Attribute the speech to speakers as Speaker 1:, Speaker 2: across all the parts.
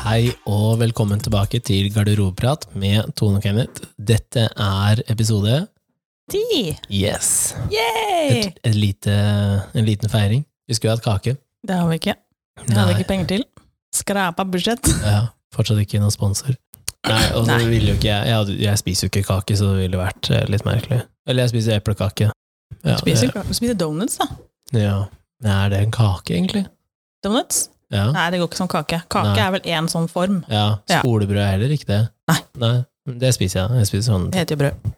Speaker 1: Hei og velkommen tilbake til Garderobeprat med Tone og Kenneth. Dette er episode
Speaker 2: Ti!
Speaker 1: Yes!
Speaker 2: Yay!
Speaker 1: Et, et lite, en liten feiring. Vi skulle jo hatt kake.
Speaker 2: Det har vi ikke. Det hadde vi ikke penger til. Skrapa budsjett.
Speaker 1: Ja, fortsatt ikke noen sponsor. Nei, og så
Speaker 2: Nei.
Speaker 1: ville jo ikke jeg, jeg, hadde- jeg spiser jo ikke kake, så det ville vært eh, litt merkelig. Eller jeg spiser eplekake. Ja,
Speaker 2: Spiser, spiser donuts, da.
Speaker 1: det- Ja. Men er det en kake, egentlig?
Speaker 2: Donuts?
Speaker 1: Ja.
Speaker 2: Nei, det går ikke som kake. Kake
Speaker 1: Nei.
Speaker 2: er vel én sånn form.
Speaker 1: ja.
Speaker 2: Ja.
Speaker 1: Skolebrød er heller ikke det.
Speaker 2: Nei.
Speaker 1: Nei. Det spiser jeg. Jeg spiser sånn
Speaker 2: Det heter jo brød.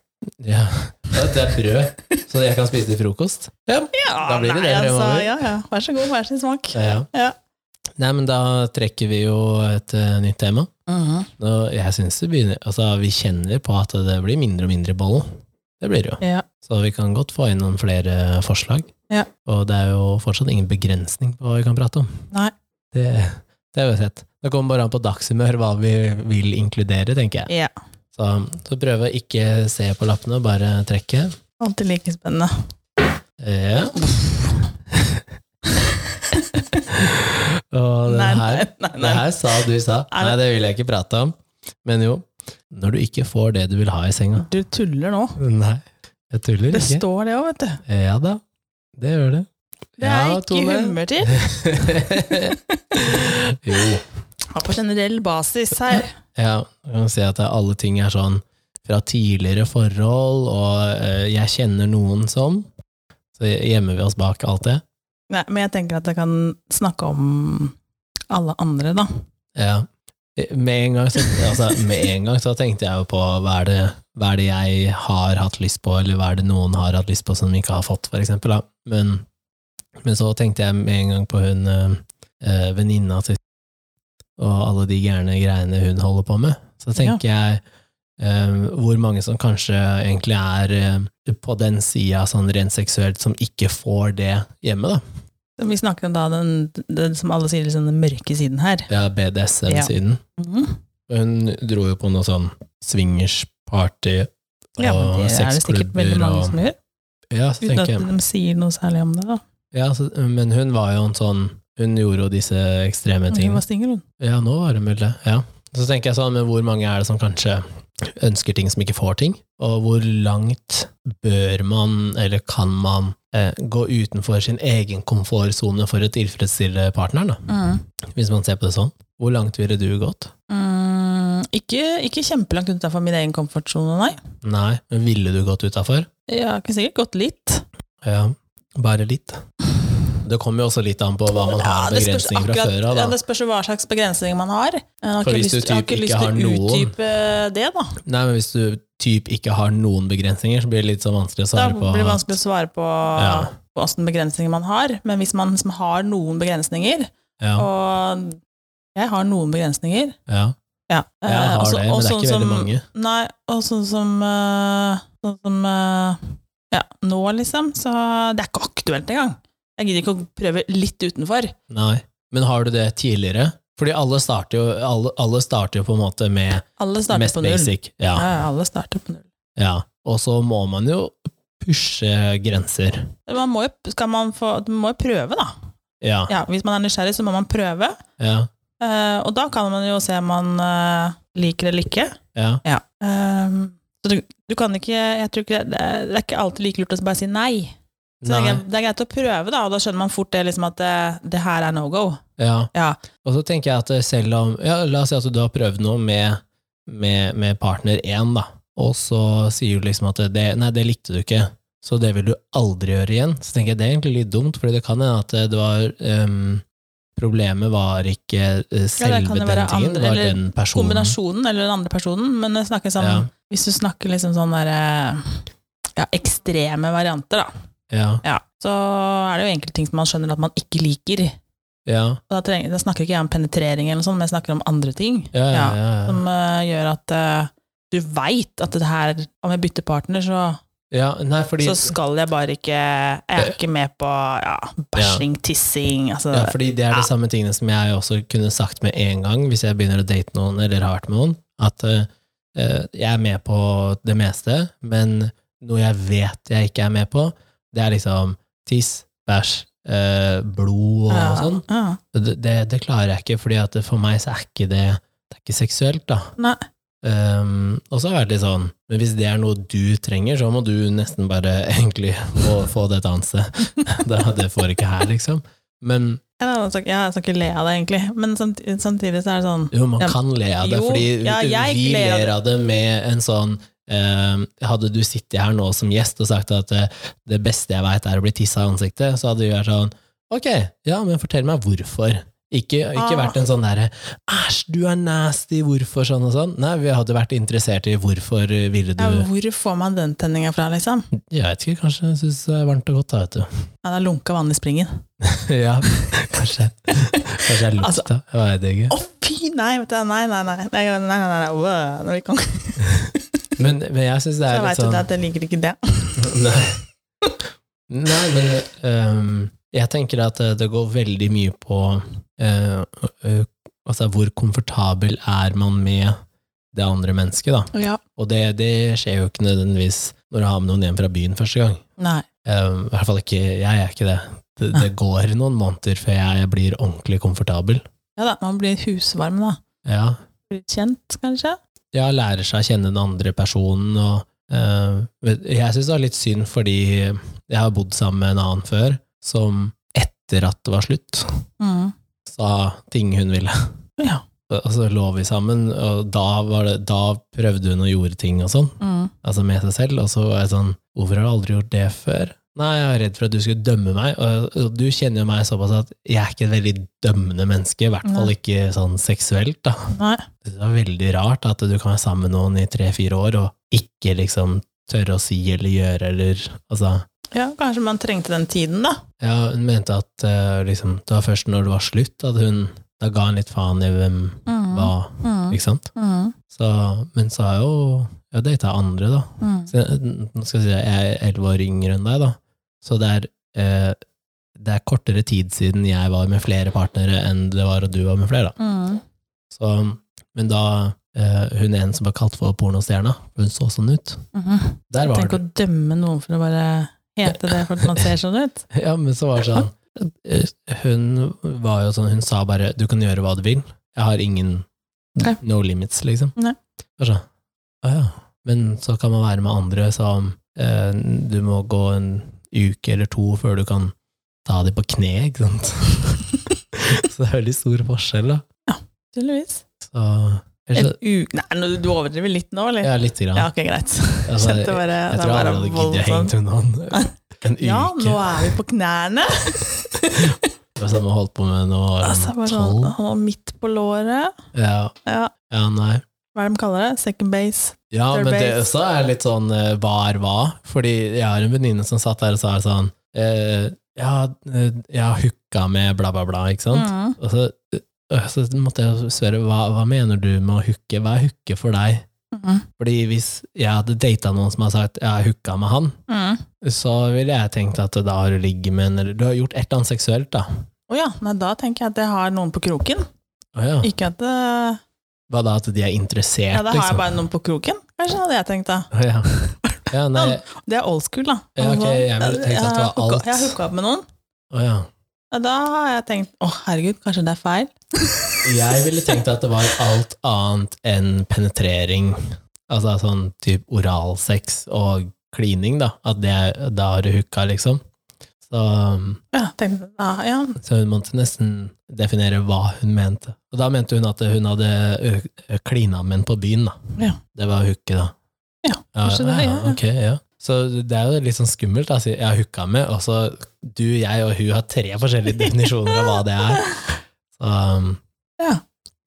Speaker 1: Ja. Det er brød, så jeg kan spise til frokost. Ja.
Speaker 2: Ja,
Speaker 1: Da blir det
Speaker 2: nei, altså,
Speaker 1: det fremover.
Speaker 2: ja, ja. Vær så god, vær sin smak.
Speaker 1: Ja, ja.
Speaker 2: Ja.
Speaker 1: Nei, men da trekker vi jo et eh, nytt tema. Mhm. Og jeg synes det begynner Altså, vi kjenner på at det blir mindre og mindre boll. Det blir det jo.
Speaker 2: ja.
Speaker 1: Så vi kan godt få inn noen flere forslag.
Speaker 2: Ja.
Speaker 1: Og det er jo fortsatt ingen begrensning på hva vi kan prate om.
Speaker 2: Nei.
Speaker 1: Det, det har vi sett. Det kommer bare an på dagshumør hva vi vil inkludere, tenker jeg.
Speaker 2: Ja.
Speaker 1: Så, så prøve å ikke se på lappene, bare trekke.
Speaker 2: Alltid like spennende.
Speaker 1: Ja. Og den
Speaker 2: Nei,
Speaker 1: her
Speaker 2: nei, nei,
Speaker 1: Det
Speaker 2: nei.
Speaker 1: her sa du sa.
Speaker 2: Nei,
Speaker 1: Nei, det vil jeg ikke prate om. Men jo, når du ikke får det du vil ha i senga
Speaker 2: Du tuller nå.
Speaker 1: Nei, jeg tuller
Speaker 2: Det
Speaker 1: ikke.
Speaker 2: står det òg, vet du.
Speaker 1: Ja da, det gjør det.
Speaker 2: Det er ikke humør til.
Speaker 1: jo.
Speaker 2: Har på generell basis her.
Speaker 1: Ja, jeg kan si at det- alle ting er sånn fra tidligere forhold, og eh, jeg kjenner noen som Så gjemmer vi oss bak alt det.
Speaker 2: Nei, men jeg tenker at jeg kan snakke om alle andre, da.
Speaker 1: Ja. Med en, gang så, altså, med en gang så tenkte jeg jo på hva er, det, hva er det jeg har hatt lyst på, eller hva er det noen har hatt lyst på som de ikke har fått, for eksempel. Da. Men, men så tenkte jeg med en gang på hun eh, eh, venninna til og alle de gærne greiene hun holder på med. Så tenker jeg eh, hvor mange som kanskje egentlig er eh, på den sida sånn rent seksuelt som ikke får det hjemme, da.
Speaker 2: Så Vi snakker om da den, den som alle sier, liksom den mørke siden her.
Speaker 1: Ja, BDSM-siden.
Speaker 2: Mhm.
Speaker 1: Hun dro jo på noe sånn swingers-party og
Speaker 2: Ja, men det er det sikkert
Speaker 1: sexklubber
Speaker 2: veldig mange
Speaker 1: og
Speaker 2: som gjør,
Speaker 1: Ja, så
Speaker 2: uten
Speaker 1: tenker
Speaker 2: at
Speaker 1: jeg
Speaker 2: de sier noe særlig om det. da.
Speaker 1: ja, så, Men hun var jo en sånn Hun gjorde jo disse ekstreme
Speaker 2: Hun
Speaker 1: tingene.
Speaker 2: var singel, hun.
Speaker 1: Ja, nå var hun vel det. Ja. Så tenker jeg sånn, men hvor mange er det som kanskje ønsker ting som ikke får ting? Og hvor langt bør man, eller kan man, eh, gå utenfor sin egen komfortsone for å tilfredsstille partneren, da?
Speaker 2: Mhm.
Speaker 1: Hvis man ser på det sånn. Hvor langt ville du gått?
Speaker 2: Mm, ikke, ikke kjempelangt utenfor min egen komfortsone, nei.
Speaker 1: Nei, men ville du gått utafor?
Speaker 2: Jeg har ikke sikkert gått litt.
Speaker 1: Ja, bare litt. Det kommer jo også litt an på hva man har av
Speaker 2: det spørs
Speaker 1: begrensninger fra
Speaker 2: akkurat-
Speaker 1: før av.
Speaker 2: Ja,
Speaker 1: da.
Speaker 2: det spørs jo hva slags begrensninger man har. Jeg har
Speaker 1: For
Speaker 2: ikke
Speaker 1: hvis du
Speaker 2: lyst- jeg har
Speaker 1: typ
Speaker 2: ikke
Speaker 1: ikke
Speaker 2: lyst
Speaker 1: har
Speaker 2: til å
Speaker 1: noen-
Speaker 2: utdype det, da.
Speaker 1: Nei, men Hvis du typ ikke har noen begrensninger, så blir det litt sånn vanskelig å
Speaker 2: Da
Speaker 1: svare på.
Speaker 2: blir det vanskelig å svare på
Speaker 1: Ja.
Speaker 2: åssen begrensninger man har. Men hvis man liksom har noen begrensninger,
Speaker 1: Ja,
Speaker 2: og jeg har noen begrensninger,
Speaker 1: ja.
Speaker 2: Ja,
Speaker 1: Jeg
Speaker 2: eh,
Speaker 1: har
Speaker 2: også-
Speaker 1: det, men
Speaker 2: og
Speaker 1: det er
Speaker 2: sånn
Speaker 1: ikke veldig
Speaker 2: som-
Speaker 1: mange.
Speaker 2: Nei, og sånn som, eh, sånn som eh, ja, nå, liksom, så det er ikke aktuelt engang. Jeg gidder ikke å prøve litt utenfor.
Speaker 1: Nei. Men har du det tidligere? Fordi alle starter jo, alle, alle starter jo på en måte med
Speaker 2: Alle starter
Speaker 1: mest
Speaker 2: på null.
Speaker 1: basic. Ja,
Speaker 2: Ja, ja, alle starter på null.
Speaker 1: ja. Og så må man jo pushe grenser.
Speaker 2: Man må jo, skal man få, man må jo prøve, da.
Speaker 1: Ja,
Speaker 2: Ja, hvis man er nysgjerrig, så må man prøve.
Speaker 1: ja,
Speaker 2: Eh, og da kan man jo se om man eh, liker eller ikke.
Speaker 1: ja.
Speaker 2: Ja. Eh, så du, du kan ikke, jeg tror ikke det, er- det er ikke alltid like lurt å bare si nei. Så det er,
Speaker 1: Nei.
Speaker 2: greit- det er greit å prøve, da, og da skjønner man fort det, liksom at det, det her er no go.
Speaker 1: Ja.
Speaker 2: Ja.
Speaker 1: Og så tenker jeg at eh, selv om ja, La oss si at du har prøvd noe med, med, med partner 1, da, og så sier du liksom at det, nei, det likte du ikke, så det vil du aldri gjøre igjen. Så tenker jeg det er egentlig litt dumt, fordi det kan hende at eh, det var ehm, Problemet var ikke eh, selve
Speaker 2: kan jo
Speaker 1: den
Speaker 2: være
Speaker 1: tingen,
Speaker 2: andre-
Speaker 1: det var
Speaker 2: eller
Speaker 1: den personen.
Speaker 2: Kombinasjonen eller den andre personen, men jeg snakker sånn,
Speaker 1: Ja.
Speaker 2: hvis du snakker liksom sånn der eh, ja, ekstreme varianter, da,
Speaker 1: Ja,
Speaker 2: ja, så er det jo enkelte ting som man skjønner at man ikke liker.
Speaker 1: ja,
Speaker 2: Og da, trenger, da snakker ikke jeg om penetrering, eller noe sånt, men jeg snakker om andre ting
Speaker 1: ja, ja,
Speaker 2: Ja,
Speaker 1: ja, ja.
Speaker 2: som eh, gjør at eh, du veit at det her Om jeg bytter partner, så,
Speaker 1: ja nei, fordi, Eh.
Speaker 2: så skal jeg bare ikke Jeg er ikke med på ja, bæsjing, tissing, altså
Speaker 1: ja, fordi det er de samme tingene som jeg også kunne sagt med en gang hvis jeg begynner å date noen eller har vært med noen, at eh, eh, jeg er med på det meste, men noe jeg vet jeg ikke er med på, det er liksom tiss, bæsj, eh, blod og
Speaker 2: Ja.
Speaker 1: sånn.
Speaker 2: Ja.
Speaker 1: Det, det, det klarer jeg ikke, fordi at det, for meg så er ikke det Det er ikke seksuelt, da.
Speaker 2: Nei.
Speaker 1: Ehm, og så har jeg vært litt sånn Men hvis det er noe du trenger, så må du nesten bare egentlig få, få det et annet sted. Det, det får ikke her, liksom. Men
Speaker 2: Ja, Jeg skal, jeg skal ikke le av det, egentlig. Men samtidig, samtidig så er det sånn
Speaker 1: jo, man
Speaker 2: Ja,
Speaker 1: kan le av det,
Speaker 2: jo,
Speaker 1: fordi
Speaker 2: ja, jeg
Speaker 1: vi
Speaker 2: ler av
Speaker 1: ler av det med en sånn ehm, Hadde du sittet her nå som gjest og sagt at eh, det beste jeg veit er å bli tissa i ansiktet, så hadde vi vært sånn Ok, ja, men fortell meg hvorfor. Ikke, ikke
Speaker 2: Ah.
Speaker 1: vært en sånn derre Æsj, du er nasty, hvorfor sånn og sånn. Nei, vi hadde vært interessert i hvorfor eh, ville du
Speaker 2: ja, Hvor får man den tenninga fra, liksom?
Speaker 1: Jeg vet ikke, kanskje jeg syns det er varmt og godt, da, vet du.
Speaker 2: Ja, det er lunka vann i springen.
Speaker 1: ja, kanskje. Kanskje jeg
Speaker 2: Altså-
Speaker 1: lukta. Jeg vet ikke.
Speaker 2: Å, fy! Nei, vet du, nei, nei, nei. nei, nei, nei, nei, nei, nei. wow, Når vi kan,
Speaker 1: Men, men jeg syns det
Speaker 2: så
Speaker 1: er
Speaker 2: veit
Speaker 1: litt
Speaker 2: du
Speaker 1: sånn
Speaker 2: det at jeg liker ikke det.
Speaker 1: Nei, Nei men ehm, jeg tenker at eh, det går veldig mye på eh, eh, altså hvor komfortabel er man med det andre mennesket, da.
Speaker 2: Ja.
Speaker 1: Og det, det skjer jo ikke nødvendigvis når du har med noen hjem fra byen første gang.
Speaker 2: Nei.
Speaker 1: Ehm, I hvert fall ikke Jeg er ikke det. Det, det går noen måneder før jeg blir ordentlig komfortabel.
Speaker 2: Ja da, man blir husvarm, da.
Speaker 1: Ja.
Speaker 2: Blir kjent, kanskje?
Speaker 1: ja, lærer seg å kjenne den andre personen. Og, eh, vet- jeg syns det var litt synd, fordi jeg har bodd sammen med en annen før, som etter at det var slutt,
Speaker 2: Mm.
Speaker 1: sa ting hun ville.
Speaker 2: Ja.
Speaker 1: Og så lå vi sammen, og da, var det, da prøvde hun å gjøre ting og sånn,
Speaker 2: Mm.
Speaker 1: altså med seg selv, og så var jeg sånn Hvorfor har du aldri gjort det før? Nei, jeg er redd for at du skulle dømme meg, og og du kjenner jo meg såpass at jeg er ikke et veldig dømmende menneske, i hvert fall
Speaker 2: Nei.
Speaker 1: ikke sånn seksuelt, da.
Speaker 2: Nei.
Speaker 1: Det er veldig rart at du kan være sammen med noen i tre-fire år og ikke liksom tørre å si eller gjøre eller Altså,
Speaker 2: Ja, kanskje man trengte den tiden, da.
Speaker 1: ja, hun mente at eh, liksom, det var først når det var slutt at hun Da ga hun litt faen i hvem
Speaker 2: Mm.
Speaker 1: hva,
Speaker 2: Mm.
Speaker 1: ikke sant?
Speaker 2: Mm.
Speaker 1: Så, men så har jeg jo Jeg har data andre, da.
Speaker 2: Mm.
Speaker 1: Så, jeg- nå skal jeg si at jeg er elleve år yngre enn deg, da. Så det er eh, det er kortere tid siden jeg var med flere partnere enn det var at du var med flere. da.
Speaker 2: Mm.
Speaker 1: Så, men da eh, hun en som var kalt for pornostjerna, hun så sånn ut.
Speaker 2: Mhm.
Speaker 1: Der var
Speaker 2: Tenk å
Speaker 1: det.
Speaker 2: dømme noen for å bare hete det for at man ser sånn ut.
Speaker 1: Ja, men så var det sånn eh, Hun var jo sånn, hun sa bare 'du kan gjøre hva du vil', jeg har ingen
Speaker 2: Nei.
Speaker 1: no limits, liksom.
Speaker 2: Nei.
Speaker 1: Det var sånn, «Å ja. Men så kan man være med andre som eh, du må gå en uke eller to før du kan ta dem på kne, ikke sant. så det er veldig stor forskjell, da.
Speaker 2: Tydeligvis.
Speaker 1: Så,
Speaker 2: En
Speaker 1: ellers, så-
Speaker 2: uke Nei, nå- du overdriver litt nå, eller?
Speaker 1: ja, lite grann.
Speaker 2: Ja, ok, greit.
Speaker 1: Altså,
Speaker 2: Kjente det bare,
Speaker 1: Jeg
Speaker 2: det
Speaker 1: tror
Speaker 2: var
Speaker 1: alle hadde giddet å henge
Speaker 2: voldsomt.
Speaker 1: til noen en uke.
Speaker 2: Ja, nå er vi på knærne!
Speaker 1: Det var samme jeg holdt på med nå
Speaker 2: Altså,
Speaker 1: var
Speaker 2: bare
Speaker 1: sånn
Speaker 2: sånn,
Speaker 1: tolv.
Speaker 2: han var midt på låret.
Speaker 1: Ja,
Speaker 2: Ja,
Speaker 1: ja, nei.
Speaker 2: hva er det de kaller det? Second base.
Speaker 1: Ja,
Speaker 2: Third
Speaker 1: men det
Speaker 2: base.
Speaker 1: også er litt sånn eh, hva er hva? Fordi jeg har en venninne som satt der og sa sånn eh, Ja, eh, jeg har hooka med bla, bla, bla, ikke sant?
Speaker 2: Mm.
Speaker 1: Og så, eh, så måtte jeg spørre hva, hva mener du med å hooke? Hva er hooke for deg?
Speaker 2: Mm.
Speaker 1: Fordi hvis jeg hadde data noen som har sagt jeg har hooka med han,
Speaker 2: Mm.
Speaker 1: så ville jeg tenkt at da har du ligget med en, eller du har gjort et eller annet seksuelt, da.
Speaker 2: Å ja, nei, da tenker jeg at jeg har noen på kroken.
Speaker 1: Å ja.
Speaker 2: Ikke at det
Speaker 1: Hva da, at de er interessert,
Speaker 2: Ja, da har jeg
Speaker 1: liksom?
Speaker 2: bare noen på kroken, kanskje, hadde jeg tenkt da.
Speaker 1: Å, ja. ja, nei
Speaker 2: Det er old school, da.
Speaker 1: Ja, ok, jeg ville
Speaker 2: Altså,
Speaker 1: tenkt at det
Speaker 2: jeg har
Speaker 1: var
Speaker 2: hooka-
Speaker 1: alt.
Speaker 2: Jeg har hooka opp med noen.
Speaker 1: å, ja.
Speaker 2: Ja, da har jeg tenkt å herregud, kanskje det er feil.
Speaker 1: Jeg ville tenkt at det var alt annet enn penetrering. Altså sånn type oralsex og klining, da. At det er da har du hooka, liksom. Så, um,
Speaker 2: Ja, tenkte, ja, ja.
Speaker 1: så hun måtte nesten definere hva hun mente. Og da mente hun at hun hadde ø- ø- klina med en på byen, da.
Speaker 2: Ja.
Speaker 1: Det var hooke, da.
Speaker 2: Ja, kanskje det, ja, ja.
Speaker 1: ok, ja. Så det er jo litt sånn skummelt. Altså, jeg har hooka med, og så du, jeg og hun har tre forskjellige definisjoner av hva det er. Så, um,
Speaker 2: Ja.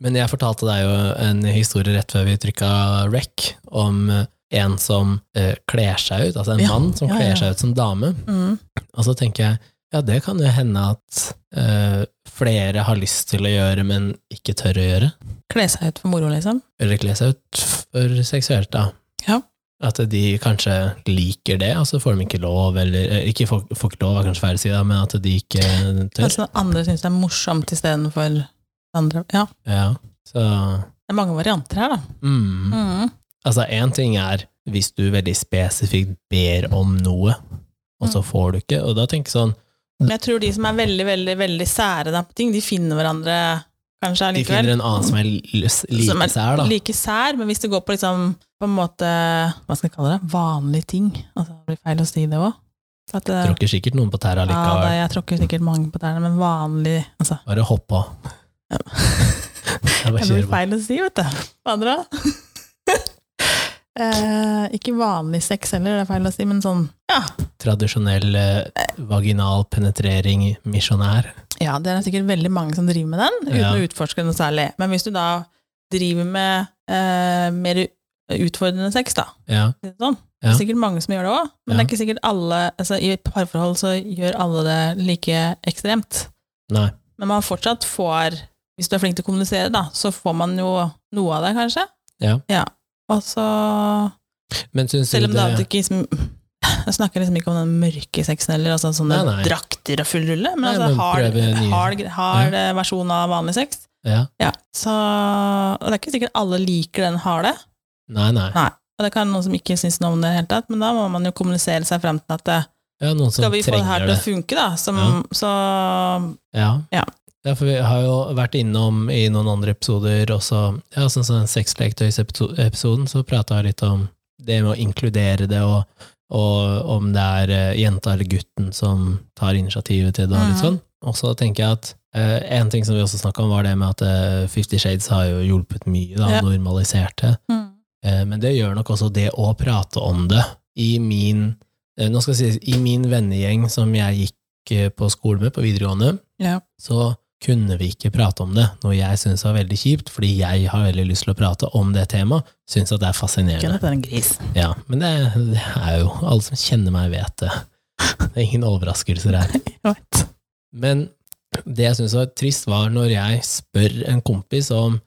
Speaker 1: Men jeg fortalte deg jo en historie rett før vi trykka rec, om eh, en som eh, kler seg ut, altså en
Speaker 2: Ja,
Speaker 1: mann som
Speaker 2: ja, ja.
Speaker 1: kler seg ut som dame.
Speaker 2: Mm.
Speaker 1: Og så tenker jeg, ja, det kan jo hende at eh, flere har lyst til å gjøre, men ikke tør å gjøre.
Speaker 2: Kle seg ut for moro, liksom.
Speaker 1: Eller kle seg ut for seksuelt, da.
Speaker 2: Ja.
Speaker 1: At de kanskje liker det, og så får de ikke lov, eller eh, ikke får, får ikke lov, er kanskje feil å si, da, men at de ikke tør.
Speaker 2: Kanskje noen Altså, andre syns det er morsomt istedenfor andre. Ja,
Speaker 1: Ja. Så
Speaker 2: det er mange varianter her, da.
Speaker 1: mm.
Speaker 2: Mm.
Speaker 1: Altså, én ting er
Speaker 2: Mm.
Speaker 1: hvis du veldig spesifikt ber om noe, og så får du ikke, og da tenker jeg sånn
Speaker 2: Men jeg tror de som er veldig, veldig, veldig sære da på ting, de finner hverandre
Speaker 1: De
Speaker 2: kanskje allikevel.
Speaker 1: finner en annen som er løs-
Speaker 2: Som er
Speaker 1: like sær, da.
Speaker 2: Like sær, men hvis det går på liksom på en måte Hva skal jeg kalle det? Vanlige ting. Altså, det blir feil å si det òg.
Speaker 1: Tråkker sikkert noen på tæra
Speaker 2: eh, Ja, da,
Speaker 1: likevel.
Speaker 2: jeg tråkker sikkert mange på tærne, men vanlig altså,
Speaker 1: Bare hopp på.
Speaker 2: Ja.
Speaker 1: Jeg bare
Speaker 2: Det blir
Speaker 1: kjører på.
Speaker 2: feil å si, vet du. Hva andre da? eh, ikke vanlig sex heller, det er feil å si, men sånn Ja,
Speaker 1: Tradisjonell eh, vaginal penetrering misjonær.
Speaker 2: ja det er sikkert veldig mange som driver med den, uten
Speaker 1: Ja.
Speaker 2: å utforske noe særlig. Men hvis du da driver med eh, mer utfordrende sex, da,
Speaker 1: Ja.
Speaker 2: for å si det sånn.
Speaker 1: Ja.
Speaker 2: Det er sikkert mange som gjør det òg, men
Speaker 1: Ja.
Speaker 2: det er ikke sikkert alle altså, I et parforhold så gjør alle det like ekstremt.
Speaker 1: Nei.
Speaker 2: Men man fortsatt får Hvis du er flink til å kommunisere, da, så får man jo noe av det, kanskje.
Speaker 1: Ja.
Speaker 2: Og så
Speaker 1: Men syns du
Speaker 2: Selv om det alltid
Speaker 1: det
Speaker 2: ikke liksom, Jeg snakker liksom ikke om den mørke sexen eller altså sånne
Speaker 1: Nei, nei.
Speaker 2: drakter og full rulle, men
Speaker 1: Nei,
Speaker 2: altså
Speaker 1: men
Speaker 2: hard,
Speaker 1: prøve nye.
Speaker 2: hard, hard eh, versjon av vanlig sex.
Speaker 1: ja.
Speaker 2: Ja. Så og det er ikke sikkert alle liker den harde.
Speaker 1: Nei, nei.
Speaker 2: Nei. Og det kan noen som ikke syns noe om det i det hele tatt, men da må man jo kommunisere seg frem til at det,
Speaker 1: Ja, noen som
Speaker 2: skal vi få det
Speaker 1: trenger
Speaker 2: her til
Speaker 1: det.
Speaker 2: å funke, da? Som,
Speaker 1: Ja.
Speaker 2: Så
Speaker 1: Ja.
Speaker 2: Ja.
Speaker 1: Ja, for vi har jo vært innom i noen andre episoder også, ja, sånn som den sexleketøysepisoden, så prata jeg litt om det med å inkludere det, og, og om det er eh, jenta eller gutten som tar initiativet til det, og litt
Speaker 2: Mhm.
Speaker 1: sånn. Og så tenker jeg at eh, en ting som vi også snakka om, var det med at eh, Fifty Shades har jo hjulpet mye, da,
Speaker 2: Ja.
Speaker 1: normalisert det.
Speaker 2: mm,
Speaker 1: Eh, Men det gjør nok også det å prate om det i min eh, Nå skal jeg si, i min vennegjeng som jeg gikk eh, på skole med på videregående,
Speaker 2: Ja.
Speaker 1: så kunne vi ikke prate om det, noe jeg syns var veldig kjipt, fordi jeg har veldig lyst til å prate om det temaet. Syns at det er
Speaker 2: Ikke
Speaker 1: fascinerende.
Speaker 2: at det er en gris.
Speaker 1: Ja, men det, det er jo Alle som kjenner meg, vet det. Det er ingen overraskelser her.
Speaker 2: Jeg vet.
Speaker 1: Men det jeg syns var trist, var når jeg spør en kompis om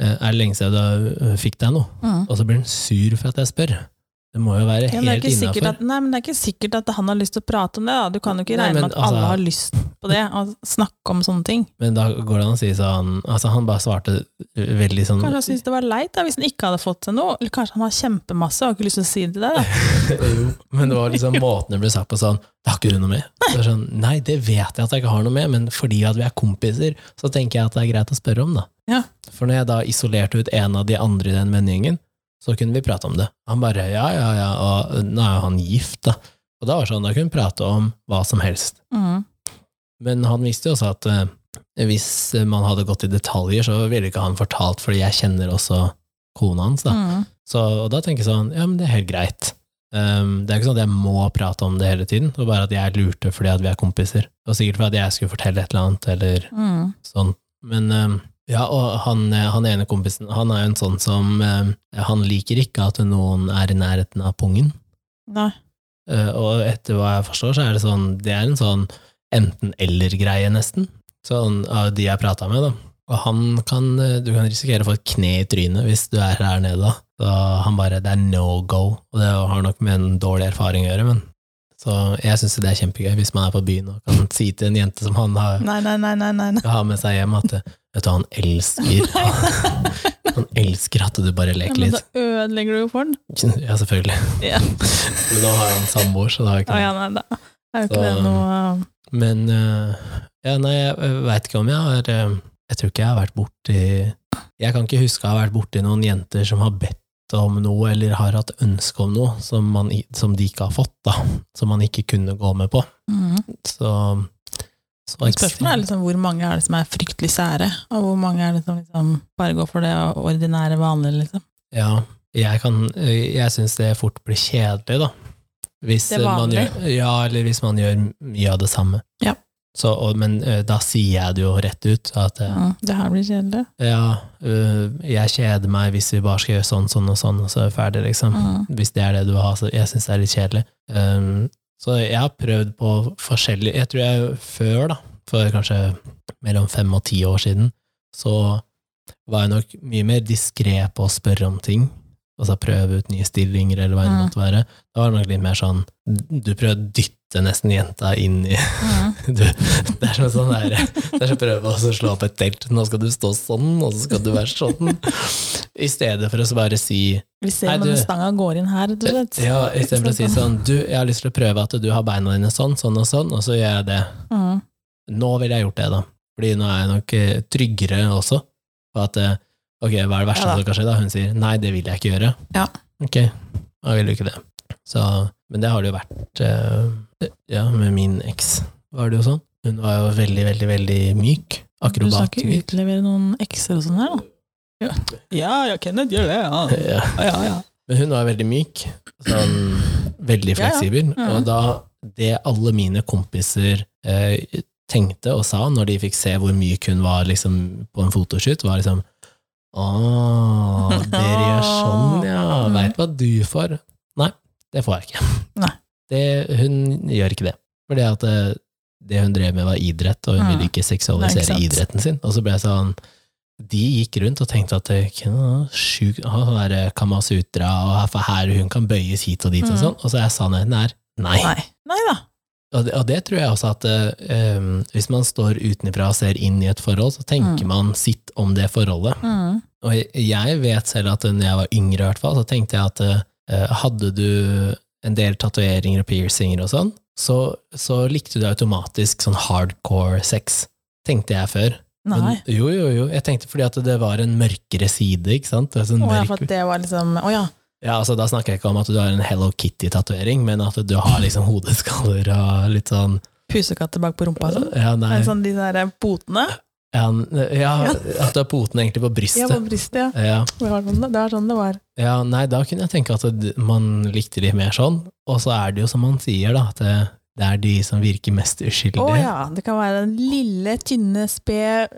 Speaker 1: eh, Er det lenge siden du eh, fikk deg noe?
Speaker 2: Mm.
Speaker 1: Og så blir han sur for at jeg spør. Det må jo være
Speaker 2: Ja, men det er
Speaker 1: helt
Speaker 2: ikke sikkert
Speaker 1: innafor.
Speaker 2: at, nei, men det er ikke sikkert at han har lyst til å prate om det. Da. Du kan jo ikke
Speaker 1: Nei,
Speaker 2: regne
Speaker 1: men
Speaker 2: med at alle
Speaker 1: altså-
Speaker 2: har lyst på det, å snakke om sånne ting.
Speaker 1: Men da går det an å si sånn Altså, han bare svarte veldig sånn
Speaker 2: Kanskje han syntes det var leit da, hvis han ikke hadde fått seg noe. Eller kanskje han har kjempemasse og har ikke lyst til å si det til deg. da.
Speaker 1: Jo, Men det var liksom måten det ble sagt på sånn Det har ikke du noe med? Det er sånn, Nei, det vet jeg at jeg ikke har noe med, men fordi at vi er kompiser, så tenker jeg at det er greit å spørre om, da.
Speaker 2: Ja.
Speaker 1: For når jeg da isolerte ut en av de andre i den vennegjengen, så kunne vi prate om det. Han bare ja, ja, ja, og nå er jo han gift, da. Og da var det sånn, da kunne vi prate om hva som helst.
Speaker 2: Mm.
Speaker 1: Men han visste jo også at eh, hvis man hadde gått i detaljer, så ville ikke han fortalt, fordi jeg kjenner også kona hans. Da.
Speaker 2: Mm.
Speaker 1: Så, og da tenker jeg sånn, ja, men det er helt greit. Um, det er ikke sånn at jeg må prate om det hele tiden, det var bare at jeg lurte fordi at vi er kompiser. Og sikkert fordi at jeg skulle fortelle et eller annet, eller
Speaker 2: Mm.
Speaker 1: sånn. Men um, ja, og han, eh, han ene kompisen, han er jo en sånn som eh, Han liker ikke at noen er i nærheten av pungen.
Speaker 2: Nei.
Speaker 1: Eh, Og etter hva jeg forstår, så er det sånn Det er en sånn enten-eller-greie, nesten. Sånn av de jeg prata med, da. Og han kan eh, Du kan risikere å få et kne i trynet hvis du er her nede, da. Så han bare Det er no go. Og det har nok med en dårlig erfaring å gjøre, men Så jeg syns det er kjempegøy hvis man er på byen og kan si til en jente som han har
Speaker 2: Nei, nei, nei, nei, nei. nei.
Speaker 1: skal ha med seg hjem, at eh, Vet du, han elsker Han elsker at du bare
Speaker 2: Ja,
Speaker 1: leker
Speaker 2: men
Speaker 1: litt.
Speaker 2: da ødelegger du jo for den.
Speaker 1: Ja, selvfølgelig.
Speaker 2: Ja.
Speaker 1: Men nå har han samboer, så da har jeg
Speaker 2: Å
Speaker 1: ikke
Speaker 2: ja, nei, da er jo ikke
Speaker 1: Så-
Speaker 2: det noe
Speaker 1: Men eh, ja, nei, jeg veit ikke om jeg har eh, Jeg tror ikke jeg har vært borti Jeg kan ikke huske å ha vært borti noen jenter som har bedt om noe, eller har hatt ønske om noe, som, man, i- som de ikke har fått, da. Som man ikke kunne gå med på.
Speaker 2: mm.
Speaker 1: Så, så
Speaker 2: Spørsmålet er liksom hvor mange er det som er fryktelig sære, og hvor mange er det som liksom bare går for det ordinære, vanlige, liksom.
Speaker 1: Ja, jeg, kan- jeg syns det fort blir kjedelig, da. Hvis
Speaker 2: Det er
Speaker 1: man
Speaker 2: vanlig.
Speaker 1: gjør, ja, eller hvis man gjør mye av det samme.
Speaker 2: Ja.
Speaker 1: Så, og, men eh, da sier jeg det jo rett ut, at eh,
Speaker 2: Ja. Mm, Det her blir kjedelig.
Speaker 1: Ja, øh, jeg kjeder meg hvis vi bare skal gjøre sånn, sånn og sånn, og så er vi ferdig, liksom.
Speaker 2: Mm.
Speaker 1: Hvis det er det du vil ha, så jeg syns det er litt kjedelig. Um, så jeg har prøvd på forskjellig Jeg tror jeg før, da, for kanskje mellom fem og ti år siden, så var jeg nok mye mer diskré på å spørre om ting. Altså prøve ut nye stillinger, eller hva det
Speaker 2: Mm.
Speaker 1: måtte være. Da var det nok litt mer sånn Du prøver å dytte dytte nesten jenta inn i
Speaker 2: Mm.
Speaker 1: du, Det er som en sånn der, det er som å prøve å slå opp et telt. Nå skal du stå sånn, og så skal du være sånn. I stedet for å så bare si
Speaker 2: Vi ser
Speaker 1: Nei,
Speaker 2: om
Speaker 1: du-
Speaker 2: denne stanga går inn her, rett og slett.
Speaker 1: ja, i stedet for å si sånn Du, jeg har lyst til å prøve at du har beina dine sånn, sånn og sånn, og så gjør jeg det.
Speaker 2: Mm.
Speaker 1: Nå ville jeg gjort det, da. Fordi nå er jeg nok eh, tryggere også på at eh, Ok, hva er det verste
Speaker 2: Ja da.
Speaker 1: som kan skje, da? Hun sier nei, det vil jeg ikke gjøre.
Speaker 2: Ja.
Speaker 1: Ok, da vil du ikke det. Så, men det har det jo vært eh, ja, med min eks. Var det jo sånn. Hun var jo veldig, veldig, veldig myk.
Speaker 2: Du skal ikke
Speaker 1: Akrobatmyk.
Speaker 2: utlevere noen ekser og sånn her, da? Ja, ja, Kenneth gjør det, ja.
Speaker 1: Ja.
Speaker 2: ja, ja.
Speaker 1: Men hun var veldig myk, sånn, veldig
Speaker 2: Ja, Mm. ja.
Speaker 1: fleksibel.
Speaker 2: Ja.
Speaker 1: Og da det alle mine kompiser eh, tenkte og sa når de fikk se hvor myk hun var liksom, på en fotoshoot, var liksom Å, dere gjør sånn, ja.
Speaker 2: Mm.
Speaker 1: Veit hva du får. Nei, det får jeg ikke.
Speaker 2: Nei.
Speaker 1: Det, hun gjør ikke det. Fordi at eh, det hun drev med, var idrett, og hun
Speaker 2: Mm.
Speaker 1: ville ikke
Speaker 2: Nei,
Speaker 1: seksualisere
Speaker 2: ikke sant.
Speaker 1: idretten sin. Og så ble jeg sånn de gikk rundt og tenkte at det kan være sjuk, han der Kamasutra og her- for her hun kan bøyes hit og dit og
Speaker 2: Mm.
Speaker 1: sånn, og så er sannheten her nei.
Speaker 2: Nei. Nei da.
Speaker 1: Og, det, og det tror jeg også at eh, em, hvis man står utenfra og ser inn i et forhold, så tenker
Speaker 2: Mm.
Speaker 1: man sitt om det forholdet.
Speaker 2: Mm.
Speaker 1: Og jeg- jeg vet selv at når jeg var yngre i hvert fall, så tenkte jeg at eh, hadde du en del tatoveringer og piercinger og sånn, så, så likte du automatisk sånn hardcore sex, tenkte jeg før.
Speaker 2: Nei.
Speaker 1: Men, jo, jo, jo. Jeg tenkte fordi at det var en mørkere side, ikke sant? Altså,
Speaker 2: Å ja,
Speaker 1: mørk...
Speaker 2: for at det var liksom Å ja.
Speaker 1: ja, altså, da snakker jeg ikke om at du har en Hello Kitty-tatuering, men at du har liksom hodeskaller og litt sånn
Speaker 2: Pusekatter bak på rumpa og sånn.
Speaker 1: Ja, nei.
Speaker 2: Men Sånn de der potene.
Speaker 1: Ja, n- ja, at du har poten egentlig på
Speaker 2: sånn- Ja, på
Speaker 1: brystet.
Speaker 2: brystet, ja.
Speaker 1: Ja.
Speaker 2: Det var sånn det, det, var sånn det var.
Speaker 1: ja, nei, da kunne jeg tenke at det- man likte de mer sånn. Og så er det jo som man sier, da, at det, det er de som virker mest uskyldige.
Speaker 2: Å ja. Det kan være den lille, tynne, sped,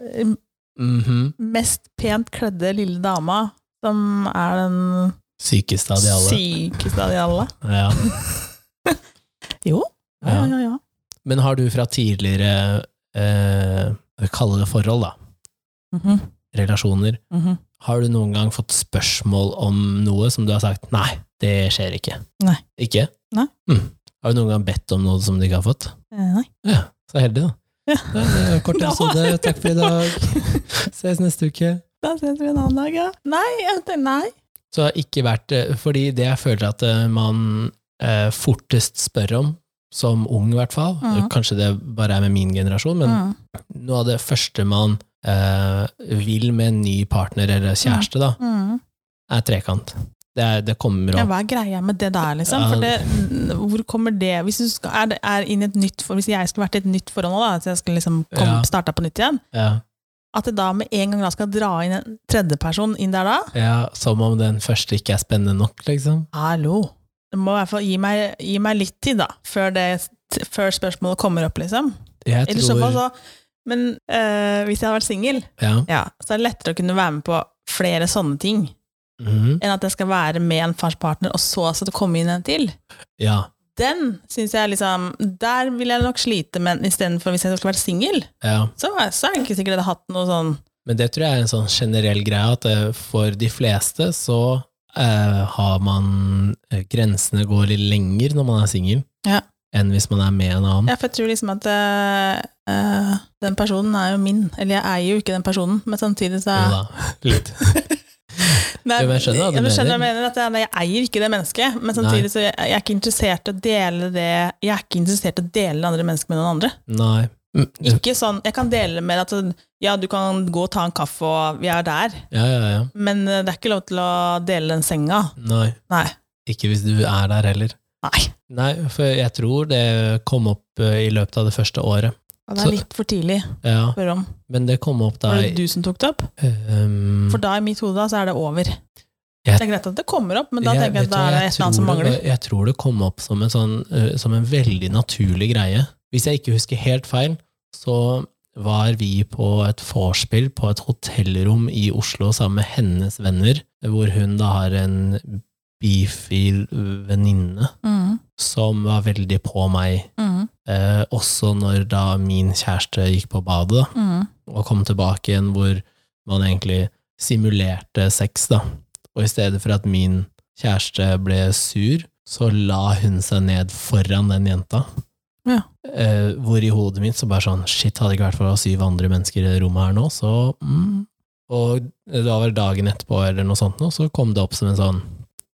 Speaker 1: Mhm.
Speaker 2: mest pent kledde lille dama som er den
Speaker 1: Sykeste av de alle.
Speaker 2: sykeste av de alle.
Speaker 1: Ja.
Speaker 2: Jo. Ja,
Speaker 1: Ja.
Speaker 2: ja, ja.
Speaker 1: Men har du fra tidligere eh, Kalle det forhold, da.
Speaker 2: Mhm,
Speaker 1: Relasjoner.
Speaker 2: mhm.
Speaker 1: Har du noen gang fått spørsmål om noe som du har sagt nei, det skjer ikke?
Speaker 2: Nei.
Speaker 1: Ikke?
Speaker 2: Nei.
Speaker 1: Mm. Har du noen gang bedt om noe som du ikke har fått?
Speaker 2: Eh, Nei.
Speaker 1: Ja, så heldig, da.
Speaker 2: Ja.
Speaker 1: Da er det kort episode. Takk for i dag. Ses neste uke.
Speaker 2: Da ses vi en annen dag, ja. Nei, jeg vet ikke, nei.
Speaker 1: Så det har ikke vært eh, Fordi det jeg føler at eh, man eh, fortest spør om, som ung i hvert fall,
Speaker 2: Mhm.
Speaker 1: kanskje det bare er med min generasjon, men
Speaker 2: Mm,
Speaker 1: noe av det første man eh, vil med en ny partner eller kjæreste, da,
Speaker 2: mm.
Speaker 1: er trekant. Det, er, det kommer
Speaker 2: Ja,
Speaker 1: opp.
Speaker 2: hva er greia med det der, liksom? For det, hvor kommer det Hvis du skal, er, det- er inn i et nytt for, Hvis jeg skulle vært i et nytt forhold nå, da, så jeg skulle liksom
Speaker 1: Ja.
Speaker 2: komme, starta på nytt igjen,
Speaker 1: Ja.
Speaker 2: at det da med en gang da skal dra inn en tredjeperson inn der da
Speaker 1: Ja, som om den første ikke er spennende nok, liksom.
Speaker 2: Hallo! Du må i hvert fall gi meg, gi meg litt tid, da, før, det, før spørsmålet kommer opp, liksom.
Speaker 1: Jeg
Speaker 2: Eller i så
Speaker 1: tror
Speaker 2: fall så Men eh, hvis jeg hadde vært singel,
Speaker 1: ja.
Speaker 2: ja, så er det lettere å kunne være med på flere sånne ting,
Speaker 1: Mhm.
Speaker 2: enn at jeg skal være med en farspartner, og så skal det komme inn en til.
Speaker 1: ja.
Speaker 2: Den syns jeg liksom Der vil jeg nok slite, men istedenfor hvis jeg skulle vært singel,
Speaker 1: ja.
Speaker 2: så, er- så er jeg ikke sikkert jeg hadde hatt noe sånn
Speaker 1: Men det tror jeg er en sånn generell greie, at eh, for de fleste så eh, har man eh, Grensene går litt lenger når man er singel,
Speaker 2: Ja.
Speaker 1: enn hvis man er med en annen.
Speaker 2: Ja, for jeg tror liksom at eh, eh, den personen er jo min, eller jeg eier jo ikke den personen, men samtidig så
Speaker 1: Jo da, litt.
Speaker 2: Nei,
Speaker 1: Jo, men jeg skjønner hva du
Speaker 2: ja, men skjønner hva jeg
Speaker 1: mener.
Speaker 2: mener. At jeg, jeg eier ikke det mennesket, men
Speaker 1: Nei.
Speaker 2: samtidig så jeg, jeg er ikke interessert i å dele det Jeg er ikke interessert i å dele det andre mennesket med noen andre.
Speaker 1: Nei. Mm,
Speaker 2: Ikke sånn, Jeg kan dele det med at ja, du kan gå og ta en kaffe, og vi er der,
Speaker 1: Ja, ja, ja.
Speaker 2: men eh, det er ikke lov til å dele den senga.
Speaker 1: Nei.
Speaker 2: Nei.
Speaker 1: Ikke hvis du er der heller.
Speaker 2: Nei.
Speaker 1: Nei, for jeg tror det kom opp eh, i løpet av det første året.
Speaker 2: Det er
Speaker 1: Så-
Speaker 2: litt for tidlig å
Speaker 1: Ja,
Speaker 2: spørre om.
Speaker 1: men det kom opp da
Speaker 2: Var det du som tok det opp?
Speaker 1: um,
Speaker 2: For da i mitt hode da, så er det over. Det er greit at det kommer opp, men da tenker jeg
Speaker 1: vet
Speaker 2: at da
Speaker 1: hva,
Speaker 2: er det
Speaker 1: jeg
Speaker 2: et eller annet som
Speaker 1: tror
Speaker 2: mangler.
Speaker 1: Det, jeg tror det kom opp som en, sånn, eh, som en veldig naturlig greie. Hvis jeg ikke husker helt feil, så var vi på et vorspiel på et hotellrom i Oslo sammen med hennes venner, hvor hun da har en bifil venninne
Speaker 2: Mm,
Speaker 1: som var veldig på meg,
Speaker 2: mm,
Speaker 1: eh, også når da min kjæreste gikk på badet, da,
Speaker 2: mm,
Speaker 1: og kom tilbake igjen hvor man egentlig simulerte sex, da. Og i stedet for at min kjæreste ble sur, så la hun seg ned foran den jenta
Speaker 2: Ja.
Speaker 1: Eh, hvor i hodet mitt så bare sånn Shit, hadde det ikke vært for syv andre mennesker i det rommet her nå, så mm. Og det var vel dagen etterpå eller noe sånt, nå, så kom det opp som en sånn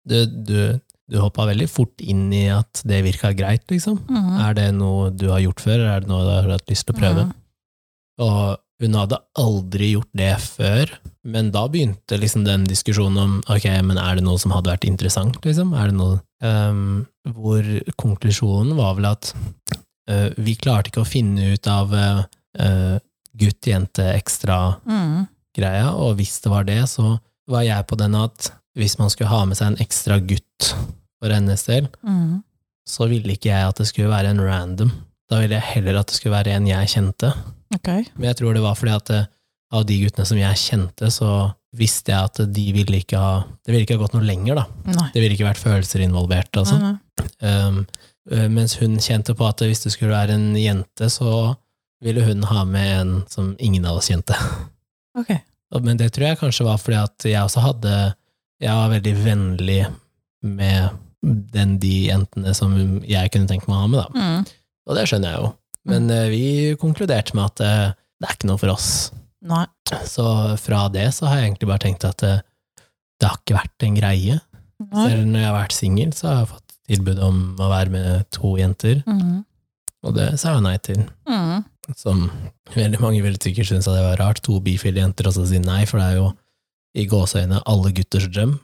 Speaker 1: Du, du, du hoppa veldig fort inn i at det virka greit, liksom.
Speaker 2: Mhm.
Speaker 1: Er det noe du har gjort før, eller er det noe du har hatt lyst til å prøve?
Speaker 2: Mhm.
Speaker 1: Og hun hadde aldri gjort det før, men da begynte liksom den diskusjonen om ok, men er det noe som hadde vært interessant, liksom? Er det noe ehm, Hvor konklusjonen var vel at eh, vi klarte ikke å finne ut av eh, gutt-jente-ekstra-greia,
Speaker 2: Mhm.
Speaker 1: og hvis det var det, så var jeg på den at hvis man skulle ha med seg en ekstra gutt for hennes del,
Speaker 2: Mhm.
Speaker 1: så ville ikke jeg at det skulle være en random. Da ville jeg heller at det skulle være en jeg kjente.
Speaker 2: Ok.
Speaker 1: Men jeg tror det var fordi at eh, av de guttene som jeg kjente, så visste jeg at de ville ikke ha Det ville ikke ha gått noe lenger, da.
Speaker 2: Nei.
Speaker 1: Det ville ikke vært følelser involvert, altså.
Speaker 2: Nei, nei.
Speaker 1: Um, eh, mens hun kjente på at hvis det skulle være en jente, så ville hun ha med en som ingen av oss kjente.
Speaker 2: Ok.
Speaker 1: Og- Men det tror jeg kanskje var fordi at jeg også hadde Jeg var veldig vennlig med den de jentene som jeg kunne tenkt meg å ha med, da.
Speaker 2: Mhm.
Speaker 1: Og det skjønner jeg jo. Men eh, vi konkluderte med at eh, det er ikke noe for oss.
Speaker 2: Nei.
Speaker 1: Så fra det så har jeg egentlig bare tenkt at eh, det har ikke vært en greie.
Speaker 2: Nei.
Speaker 1: Selv når jeg har vært singel, så har jeg fått tilbud om å være med to jenter,
Speaker 2: Mhm.
Speaker 1: og det sa jeg nei til.
Speaker 2: Mhm.
Speaker 1: Som veldig mange ville sikkert synes at det var rart, to bifile jenter og så si nei, for det er jo i gåseøyne alle gutters drøm.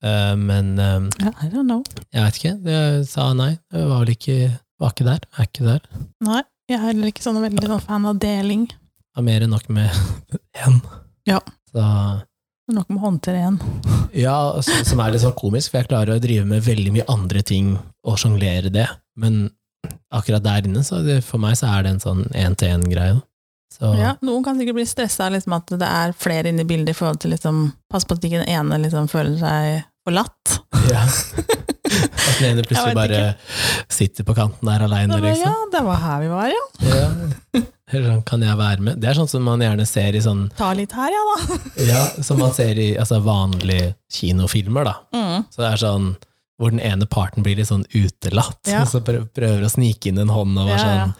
Speaker 1: Eh, men eh,
Speaker 2: Ja, I don't know.
Speaker 1: jeg vet ikke, jeg sa nei. Jeg var vel ikke, var ikke der, er ikke der.
Speaker 2: Nei, jeg er heller ikke sånn veldig sånn fan av deling.
Speaker 1: har mer enn nok med én.
Speaker 2: Ja.
Speaker 1: Så,
Speaker 2: Det er Nok med å håndtere en.
Speaker 1: ja, så- som er litt sånn komisk, for jeg klarer å drive med veldig mye andre ting og sjonglere det, men akkurat der inne, så det, for meg så er det en sånn én-til-én-greie. Så
Speaker 2: Ja, noen kan sikkert bli stressa av liksom, at det er flere inne i bildet i forhold til liksom, Pass på at ikke den ene liksom, føler seg forlatt.
Speaker 1: ja. At den ene plutselig
Speaker 2: Jeg vet
Speaker 1: bare sitter på kanten der
Speaker 2: Da
Speaker 1: aleine,
Speaker 2: Bare, ja,
Speaker 1: liksom.
Speaker 2: det var her vi var, ja.
Speaker 1: Ja. Eller sånn, kan jeg være med? Det er sånn som man gjerne ser i sånn
Speaker 2: Ta litt her, ja da.
Speaker 1: ja, Som man ser i altså, vanlige kinofilmer, da.
Speaker 2: Mm.
Speaker 1: Så det er sånn hvor den ene parten blir litt sånn utelatt,
Speaker 2: Ja.
Speaker 1: og så prø- prøver å snike inn en hånd og
Speaker 2: Ja,
Speaker 1: være
Speaker 2: ja.
Speaker 1: sånn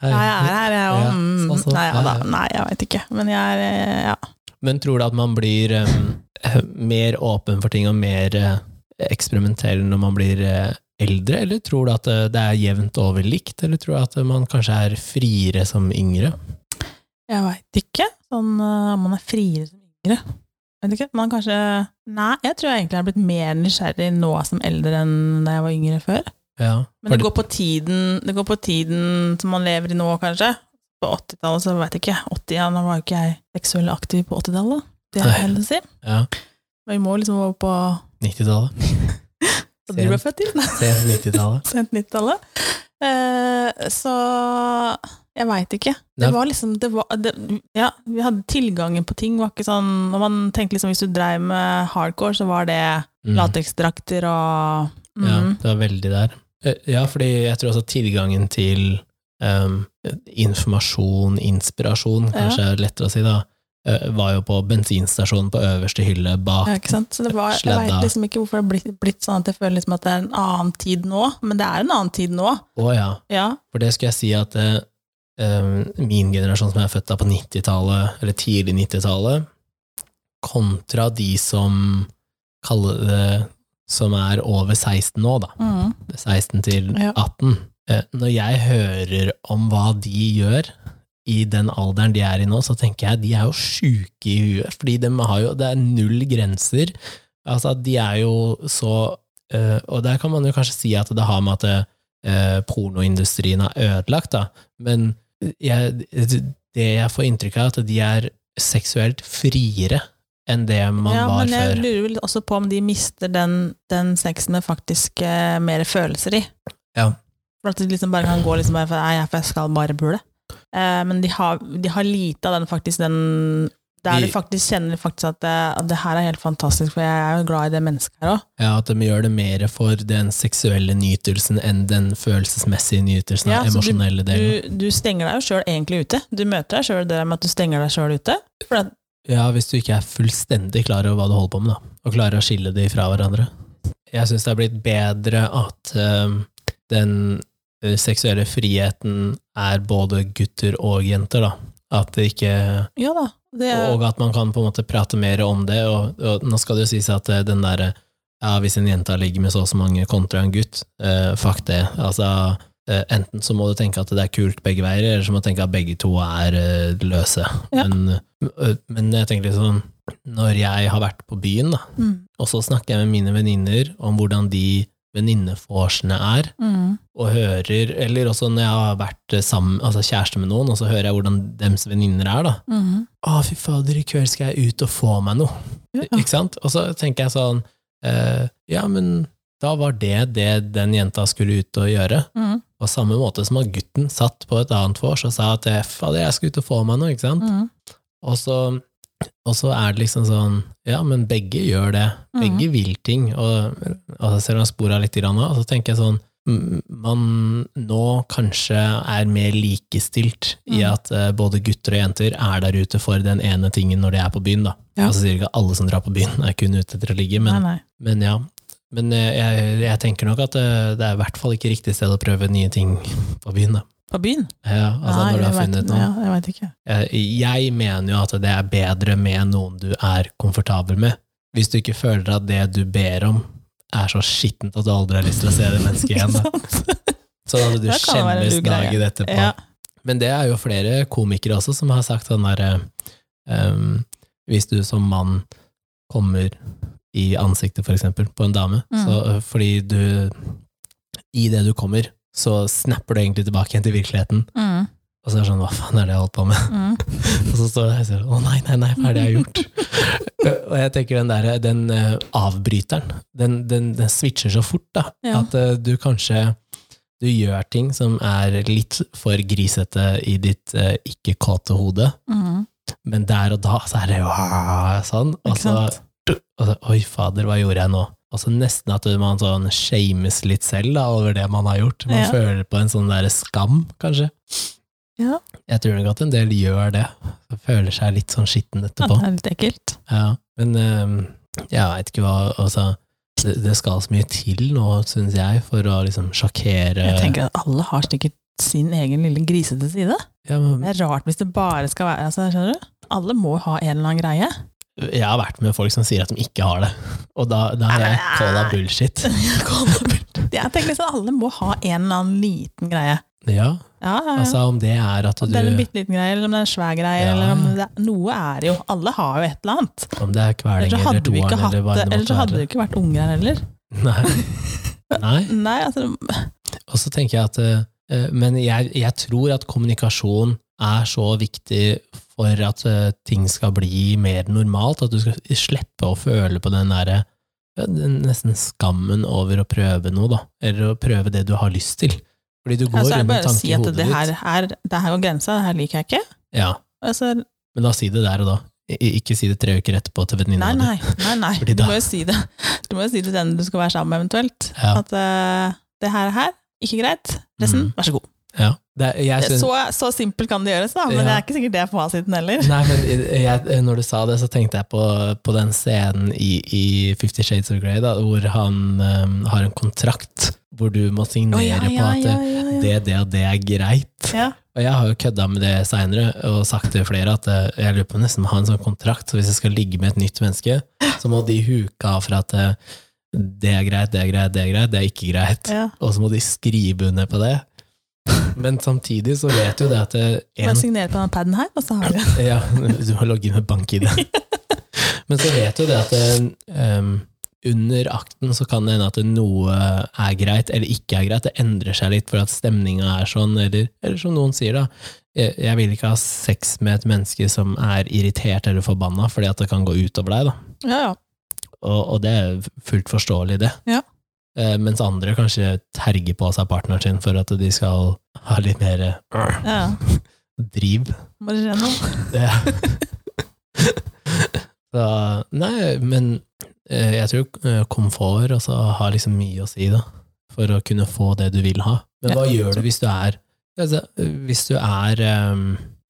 Speaker 1: «Hei».
Speaker 2: Ja, jeg er her, jeg
Speaker 1: Ja,
Speaker 2: òg. Mm.
Speaker 1: sånn, sånn.
Speaker 2: Nei, ja,
Speaker 1: Ja,
Speaker 2: da.
Speaker 1: ja.
Speaker 2: Nei, jeg veit ikke. Men jeg er eh, ja.
Speaker 1: Men tror du at man blir eh, mer åpen for ting og mer eh, eksperimentell når man blir eh, eldre, eller tror du at eh, det er jevnt over likt, eller tror du at eh, man kanskje er friere som yngre?
Speaker 2: Jeg veit ikke. Sånn eh, om man er friere som yngre. Vet ikke. Man kanskje Nei, jeg tror jeg egentlig har blitt mer nysgjerrig nå som eldre enn da jeg var yngre før.
Speaker 1: Ja.
Speaker 2: Men det
Speaker 1: Fordi-
Speaker 2: går på tiden, det går på tiden som man lever i nå, kanskje. På 80-tallet, så veit jeg ikke. 80, ja, nå var jo ikke jeg seksuelt aktiv på 80-tallet. Det er
Speaker 1: Nei.
Speaker 2: heller å si.
Speaker 1: ja,
Speaker 2: Men vi må liksom over på
Speaker 1: 90-tallet.
Speaker 2: på de ble født i. Nei,
Speaker 1: Sent 90-tallet.
Speaker 2: Sent 90-tallet. Eh, så jeg veit ikke. Det
Speaker 1: Nei.
Speaker 2: var liksom det var, det, Ja, vi hadde tilgangen på ting. var ikke sånn, Når man tenkte liksom hvis du dreiv med hardcore, så var det
Speaker 1: Mm.
Speaker 2: lateksdrakter og mm,
Speaker 1: Ja, det var veldig der. Eh, Ja, fordi jeg tror også tilgangen til em, informasjon, inspirasjon, kanskje er lettere å si da, eh, var jo på bensinstasjonen på øverste hylle bak.
Speaker 2: Ja, ikke sant? Så det var, jeg
Speaker 1: Sladda.
Speaker 2: veit liksom ikke hvorfor det har blitt, blitt sånn at jeg føler liksom at det er en annen tid nå, men det er en annen tid nå.
Speaker 1: Å ja,
Speaker 2: Ja.
Speaker 1: for det skulle jeg si at eh, em, min generasjon som er født da på 90-tallet, eller tidlig 90-tallet, kontra de som kaller det, som er over 16 nå da,
Speaker 2: Mm.
Speaker 1: 16 til
Speaker 2: Ja.
Speaker 1: 18. Eh, Når jeg hører om hva de gjør i den alderen de er i nå, så tenker jeg de er jo sjuke i huet, fordi de har jo, det er null grenser. Altså, de er jo så eh, Og der kan man jo kanskje si at det har med at eh, pornoindustrien er ødelagt, da, men jeg, det jeg får inntrykk av, er at de er seksuelt friere enn det man
Speaker 2: ja,
Speaker 1: var
Speaker 2: men jeg
Speaker 1: før.
Speaker 2: lurer vel også på om de mister den, den sexen med faktisk eh, mer følelser i.
Speaker 1: Ja.
Speaker 2: For at de liksom bare kan gå liksom bare for, Nei, for jeg skal bare bule. Eh, men de har, de har lite av den faktisk den der
Speaker 1: De-
Speaker 2: de faktisk kjenner faktisk at det, at det her er helt fantastisk, for jeg er jo glad i det mennesket her òg.
Speaker 1: Ja, at de gjør det mer for den seksuelle nytelsen enn den følelsesmessige nytelsen,
Speaker 2: Ja,
Speaker 1: den
Speaker 2: så
Speaker 1: emosjonelle delen.
Speaker 2: Du, du stenger deg jo sjøl egentlig ute. Du møter deg sjøl det med at du stenger deg sjøl ute. For at
Speaker 1: Ja, hvis du ikke er fullstendig klar over hva du holder på med, da, og klarer å skille de fra hverandre. Jeg syns det har blitt bedre at eh, ehm, den eh, seksuelle friheten er både gutter og jenter, da. At det ikke
Speaker 2: Ja da. Det er,
Speaker 1: Og at man kan på en måte prate mer om det, og, og nå skal det jo sies at eh, den derre ja, hvis en jente ligger med så og så mange kontra en gutt, eh, fuck det. Altså, eh, enten så må du tenke at det er kult begge veier, eller så må du tenke at begge to er eh, løse.
Speaker 2: Ja.
Speaker 1: Men, eh, men jeg tenker litt sånn, når jeg har vært på byen, da,
Speaker 2: mm,
Speaker 1: og så snakker jeg med mine venninner om hvordan de venninneforsene er,
Speaker 2: mm,
Speaker 1: og hører, eller også når jeg har vært eh, sammen, altså kjæreste med noen, og så hører jeg hvordan dems venninner er, da.
Speaker 2: mm,
Speaker 1: Å, fy fader, i kveld skal jeg ut og få meg noe.
Speaker 2: ja.
Speaker 1: Ikke sant? Og så tenker jeg sånn, eh, ja, men da var det det den jenta skulle ut og gjøre.
Speaker 2: Mm,
Speaker 1: På samme måte som at gutten satt på et annet vors og sa at eh, fader, jeg skal ut og få meg noe, ikke sant?
Speaker 2: mm,
Speaker 1: Og så, og så er det liksom sånn Ja, men begge gjør det.
Speaker 2: Mhm.
Speaker 1: Begge vil ting. Og, og så ser man spora litt grann av, og så tenker jeg sånn mm, man nå kanskje er mer likestilt i
Speaker 2: Mm.
Speaker 1: at eh, både gutter og jenter er der ute for den ene tingen når de er på byen, da.
Speaker 2: Ja.
Speaker 1: Og så sier ikke alle som drar på byen er kun ute etter å ligge, men,
Speaker 2: nei, nei.
Speaker 1: men ja. Men eh, jeg, jeg tenker nok at eh, det er i hvert fall ikke riktig sted å prøve nye ting på byen, da.
Speaker 2: På byen?
Speaker 1: Ja, altså
Speaker 2: nei,
Speaker 1: når du
Speaker 2: jeg
Speaker 1: har
Speaker 2: vet-
Speaker 1: funnet noe.
Speaker 2: Ja, jeg veit ikke.
Speaker 1: Eh, Jeg mener jo at det er bedre med noen du er komfortabel med, hvis du ikke føler at det du ber om, er så skittent at du aldri har lyst til å se det mennesket igjen. Da. Så da hadde du
Speaker 2: Det kan være en
Speaker 1: skjemmes
Speaker 2: lur greie.
Speaker 1: dagen etterpå.
Speaker 2: ja.
Speaker 1: Men det er jo flere komikere også som har sagt sånn derre ehm, Hvis du som mann kommer i ansiktet, for eksempel, på en dame,
Speaker 2: Mm.
Speaker 1: så, eh, fordi du I det du kommer, så snapper du egentlig tilbake igjen til virkeligheten,
Speaker 2: Mm,
Speaker 1: og så er det sånn Hva faen er det jeg holdt på med?
Speaker 2: mm,
Speaker 1: Og så står jeg her og sier å nei, nei, nei, hva er det jeg har gjort? og jeg tenker den der, den eh, avbryteren, den, den, den switcher så fort da,
Speaker 2: Ja.
Speaker 1: at eh, du kanskje du gjør ting som er litt for grisete i ditt eh, ikke-kåte hode,
Speaker 2: mm.
Speaker 1: men der og da så er det jo «Ah», sånn, og
Speaker 2: Ikke
Speaker 1: så,
Speaker 2: sant?
Speaker 1: og så oi fader, hva gjorde jeg nå? Og så nesten at man sånn shames litt selv da, over det man har gjort. Man
Speaker 2: Ja.
Speaker 1: føler på en sånn der skam, kanskje.
Speaker 2: Ja.
Speaker 1: Jeg tror nok at en del gjør det. Føler seg litt sånn skitten
Speaker 2: Ja,
Speaker 1: etterpå.
Speaker 2: det er litt ekkelt.
Speaker 1: Ja, men eh, jeg veit ikke hva altså, det, det skal så mye til nå, syns jeg, for å liksom sjokkere
Speaker 2: Jeg tenker at alle har sikkert sin egen lille grisete side.
Speaker 1: ja, men,
Speaker 2: Det er rart hvis det bare skal være altså, skjønner du? Alle må ha en eller annen greie.
Speaker 1: Jeg har vært med folk som sier at de ikke har det, og da, da har jeg calla bullshit.
Speaker 2: Jeg tenker liksom alle må ha en eller annen liten greie.
Speaker 1: Ja,
Speaker 2: Ja, ja, ja.
Speaker 1: altså om det er at
Speaker 2: Om det er en
Speaker 1: du
Speaker 2: bitte liten greie, eller om det er en svær greie,
Speaker 1: Ja,
Speaker 2: eller om
Speaker 1: ja.
Speaker 2: det er, noe er det jo Alle har jo et eller annet.
Speaker 1: Om det er kveling
Speaker 2: Ellers så
Speaker 1: eller
Speaker 2: hadde vi
Speaker 1: toeren
Speaker 2: ikke hatt
Speaker 1: eller
Speaker 2: det,
Speaker 1: hva det
Speaker 2: ellers så
Speaker 1: måtte
Speaker 2: hadde det
Speaker 1: være.
Speaker 2: jo ikke vært unger her heller.
Speaker 1: Nei. Nei.
Speaker 2: Nei, altså
Speaker 1: Og så tenker jeg at eh, Men jeg, jeg tror at kommunikasjon er så viktig for at eh, ting skal bli mer normalt, at du skal slippe å føle på den derre ja, den nesten skammen over å prøve noe, da. Eller å prøve det du har lyst til. Fordi du går
Speaker 2: altså, er det
Speaker 1: rundt med
Speaker 2: bare å
Speaker 1: tanke
Speaker 2: si
Speaker 1: i
Speaker 2: at
Speaker 1: hodet
Speaker 2: det her,
Speaker 1: ditt.
Speaker 2: her, det her går grensa, det her liker jeg ikke.
Speaker 1: Ja,
Speaker 2: Altså,
Speaker 1: men da si det der og da. I- Ikke si det tre uker etterpå til venninna
Speaker 2: nei,
Speaker 1: di.
Speaker 2: nei, nei, nei.
Speaker 1: Fordi
Speaker 2: Du
Speaker 1: da-
Speaker 2: må jo si det Du må jo si det til den du skal være sammen med, eventuelt.
Speaker 1: Ja.
Speaker 2: At eh, det her er her, ikke greit. Resten,
Speaker 1: Mm.
Speaker 2: vær så god.
Speaker 1: Ja. Det, er- jeg
Speaker 2: Det er
Speaker 1: syns-
Speaker 2: så, så simpelt kan det gjøres, da, men
Speaker 1: Ja.
Speaker 2: det er ikke sikkert det er fasiten heller.
Speaker 1: Nei, men jeg, når du sa det, så tenkte jeg på, på den scenen i, i Fifty Shades of Grey, da, hvor han øhm, har en kontrakt hvor du må signere på at eh, det, det og det er greit.
Speaker 2: Ja.
Speaker 1: Og jeg har jo kødda med det seinere og sagt til flere at eh, jeg lurer på nesten å ha en sånn kontrakt, så hvis jeg skal ligge med et nytt menneske, så må de huke av for at eh, det er greit, det er greit, det er greit, det er ikke greit
Speaker 2: Ja.
Speaker 1: og så må de skrive under på det. Men samtidig så vet jo det at det
Speaker 2: Bare
Speaker 1: en,
Speaker 2: signere på denne paden her, og så har vi
Speaker 1: ja, Du har logget med bank-ID. Men så vet jo det at eh, um, under akten så kan det hende at noe er greit eller ikke er greit. Det endrer seg litt for at stemninga er sånn, eller, eller som noen sier, da. Jeg, jeg vil ikke ha sex med et menneske som er irritert eller forbanna, fordi at det kan gå utover deg, da.
Speaker 2: Ja, ja.
Speaker 1: Og, og det er fullt forståelig, det.
Speaker 2: Ja.
Speaker 1: Eh, mens andre kanskje terger på seg partneren sin for at de skal ha litt mer eh,
Speaker 2: ja.
Speaker 1: driv.
Speaker 2: Må det skje noe?
Speaker 1: Det. Så, nei, men eh, jeg tror eh, komfort også har liksom mye å si, da. For å kunne få det du vil ha. Men hva
Speaker 2: Ja.
Speaker 1: gjør du hvis du er altså, Hvis du er eh,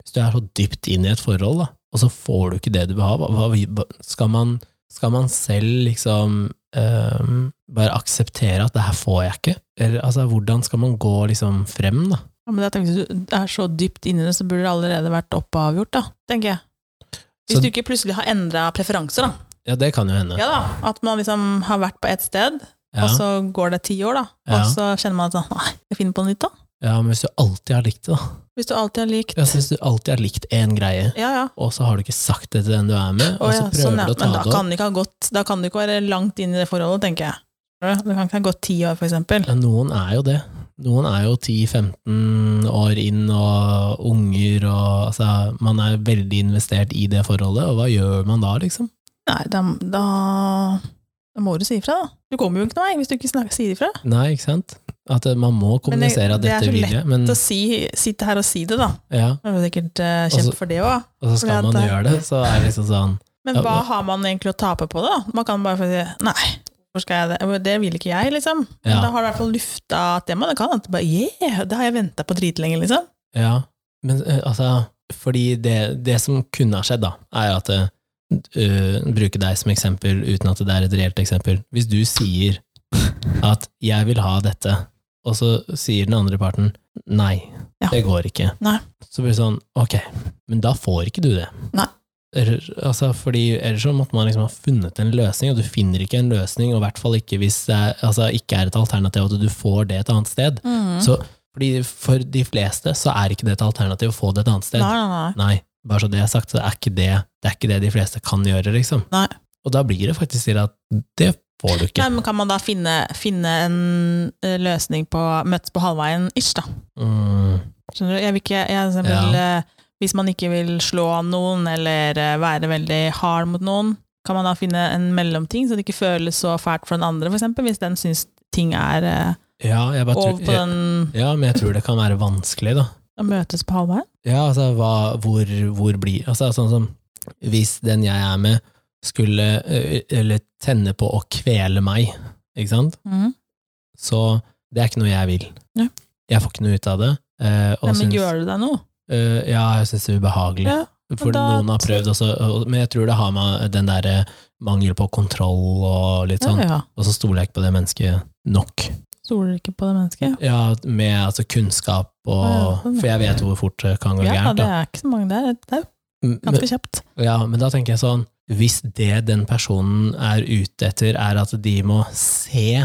Speaker 1: Hvis du er så dypt inn i et forhold, da, og så får du ikke det du vil ha, hva, hva, skal, man, skal man selv liksom ehm, bare akseptere at det her får jeg ikke? Eller, altså, hvordan skal man gå liksom frem, da?
Speaker 2: Ja, men jeg tenker, hvis du er så dypt inni det, så burde det allerede vært oppavgjort, da, tenker jeg. Hvis
Speaker 1: Så-
Speaker 2: du ikke plutselig har endra preferanser, da.
Speaker 1: Ja, det kan jo hende.
Speaker 2: Ja da, At man liksom har vært på ett sted, og
Speaker 1: Ja, altså
Speaker 2: så går det ti år, da.
Speaker 1: Ja.
Speaker 2: Og så kjenner man at sånn, nei, jeg finner på noe nytt, da.
Speaker 1: ja men hvis du alltid har likt det, da.
Speaker 2: Hvis du alltid har likt
Speaker 1: Ja, så hvis du alltid har likt én greie,
Speaker 2: Ja, ja.
Speaker 1: og så har du ikke sagt det til den du er med,
Speaker 2: Å,
Speaker 1: og så
Speaker 2: ja,
Speaker 1: prøver
Speaker 2: sånn, ja.
Speaker 1: du å ta
Speaker 2: Men da
Speaker 1: det opp.
Speaker 2: kan, det ikke ha gått, da kan du ikke være langt inn i det forholdet, tenker jeg. Det kan ikke ha gått ti år, for eksempel.
Speaker 1: Ja, noen er jo det. Noen er jo 10-15 år inn og unger og altså, Man er veldig investert i det forholdet, og hva gjør man da, liksom?
Speaker 2: Nei, da, da, da må du si ifra, da. Du kommer jo ikke noen vei hvis du ikke snakker, sier ifra.
Speaker 1: Nei, ikke sant? At eh, man må
Speaker 2: Men det-
Speaker 1: kommunisere at
Speaker 2: det er
Speaker 1: dette
Speaker 2: så
Speaker 1: vil
Speaker 2: lett
Speaker 1: jeg, men
Speaker 2: Så si, sitt her og si det, da.
Speaker 1: ja,
Speaker 2: Det er jo sikkert eh, kjempe
Speaker 1: Altså-
Speaker 2: for det òg.
Speaker 1: og så skal
Speaker 2: fordi at
Speaker 1: man
Speaker 2: det-
Speaker 1: gjøre det, så er det liksom sånn
Speaker 2: Men
Speaker 1: Ja,
Speaker 2: hva
Speaker 1: hva-
Speaker 2: har man egentlig å tape på det, da? Man kan bare si nei, hvorfor skal jeg det? Det vil ikke jeg, liksom. Men
Speaker 1: Ja.
Speaker 2: Da har du i hvert fall lufta temaet. Det kan hende at du bare yeah, det har jeg venta på dritlenge, liksom.
Speaker 1: Ja, men eh, altså Fordi det, det som kunne ha skjedd, da, er at eh, øh, Bruke deg som eksempel uten at det er et reelt eksempel. Hvis du sier at 'jeg vil ha dette', og så sier den andre parten 'nei,
Speaker 2: Ja.
Speaker 1: det går ikke',
Speaker 2: Nei.
Speaker 1: så blir det sånn 'ok, men da får ikke du det'.
Speaker 2: Nei.
Speaker 1: Eller, altså, fordi Ellers så måtte man liksom ha funnet en løsning, og du finner ikke en løsning, og i hvert fall ikke hvis det er, altså, ikke er et alternativ at du får det et annet sted.
Speaker 2: Mm.
Speaker 1: Så- Fordi For de fleste så er ikke det et alternativ å få det et annet sted.
Speaker 2: Nei, nei, nei.
Speaker 1: Nei, bare så det er sagt, så er ikke det, det er ikke det de fleste kan gjøre, liksom.
Speaker 2: Nei.
Speaker 1: Og da blir det faktisk til at det får du ikke.
Speaker 2: Nei, men kan man da finne, finne en eh, løsning på møtes på halvveien ish, da?
Speaker 1: Mm,
Speaker 2: Skjønner du? Jeg vil ikke, jeg liksom
Speaker 1: Ja.
Speaker 2: vil, eh, hvis man ikke vil slå noen, eller eh, være veldig hard mot noen, kan man da finne en mellomting, så det ikke føles så fælt for den andre, for eksempel, hvis den syns ting er eh,
Speaker 1: ja, jeg bare
Speaker 2: over
Speaker 1: tror,
Speaker 2: på den
Speaker 1: ja, men jeg tror det kan være vanskelig, da.
Speaker 2: å møtes på halvveien?
Speaker 1: Ja, altså, hva, hvor, hvor blir Altså, sånn som hvis den jeg er med, skulle ø, Eller tenne på å kvele meg, ikke sant?
Speaker 2: Mm.
Speaker 1: Så det er ikke noe jeg vil.
Speaker 2: Nei.
Speaker 1: Jeg får ikke noe ut av det. eh, og
Speaker 2: Nei, men
Speaker 1: syns-
Speaker 2: gjør du deg noe?
Speaker 1: Eh, ja, jeg syns det er ubehagelig.
Speaker 2: Ja,
Speaker 1: For
Speaker 2: men da-
Speaker 1: noen har prøvd også, og- men jeg tror det har med den der eh, mangel på kontroll og litt sånn,
Speaker 2: ja, ja.
Speaker 1: og så stoler jeg ikke på det mennesket nok.
Speaker 2: Stoler ikke på det mennesket?
Speaker 1: Ja, med altså kunnskap og
Speaker 2: Ja, ja, sånn.
Speaker 1: For jeg vet hvor fort det kan gå
Speaker 2: Ja,
Speaker 1: gærent,
Speaker 2: det
Speaker 1: da.
Speaker 2: er ikke så mange der. Det er jo
Speaker 1: Men,
Speaker 2: ganske kjapt.
Speaker 1: ja, men da tenker jeg sånn, hvis det den personen er ute etter, er at de må se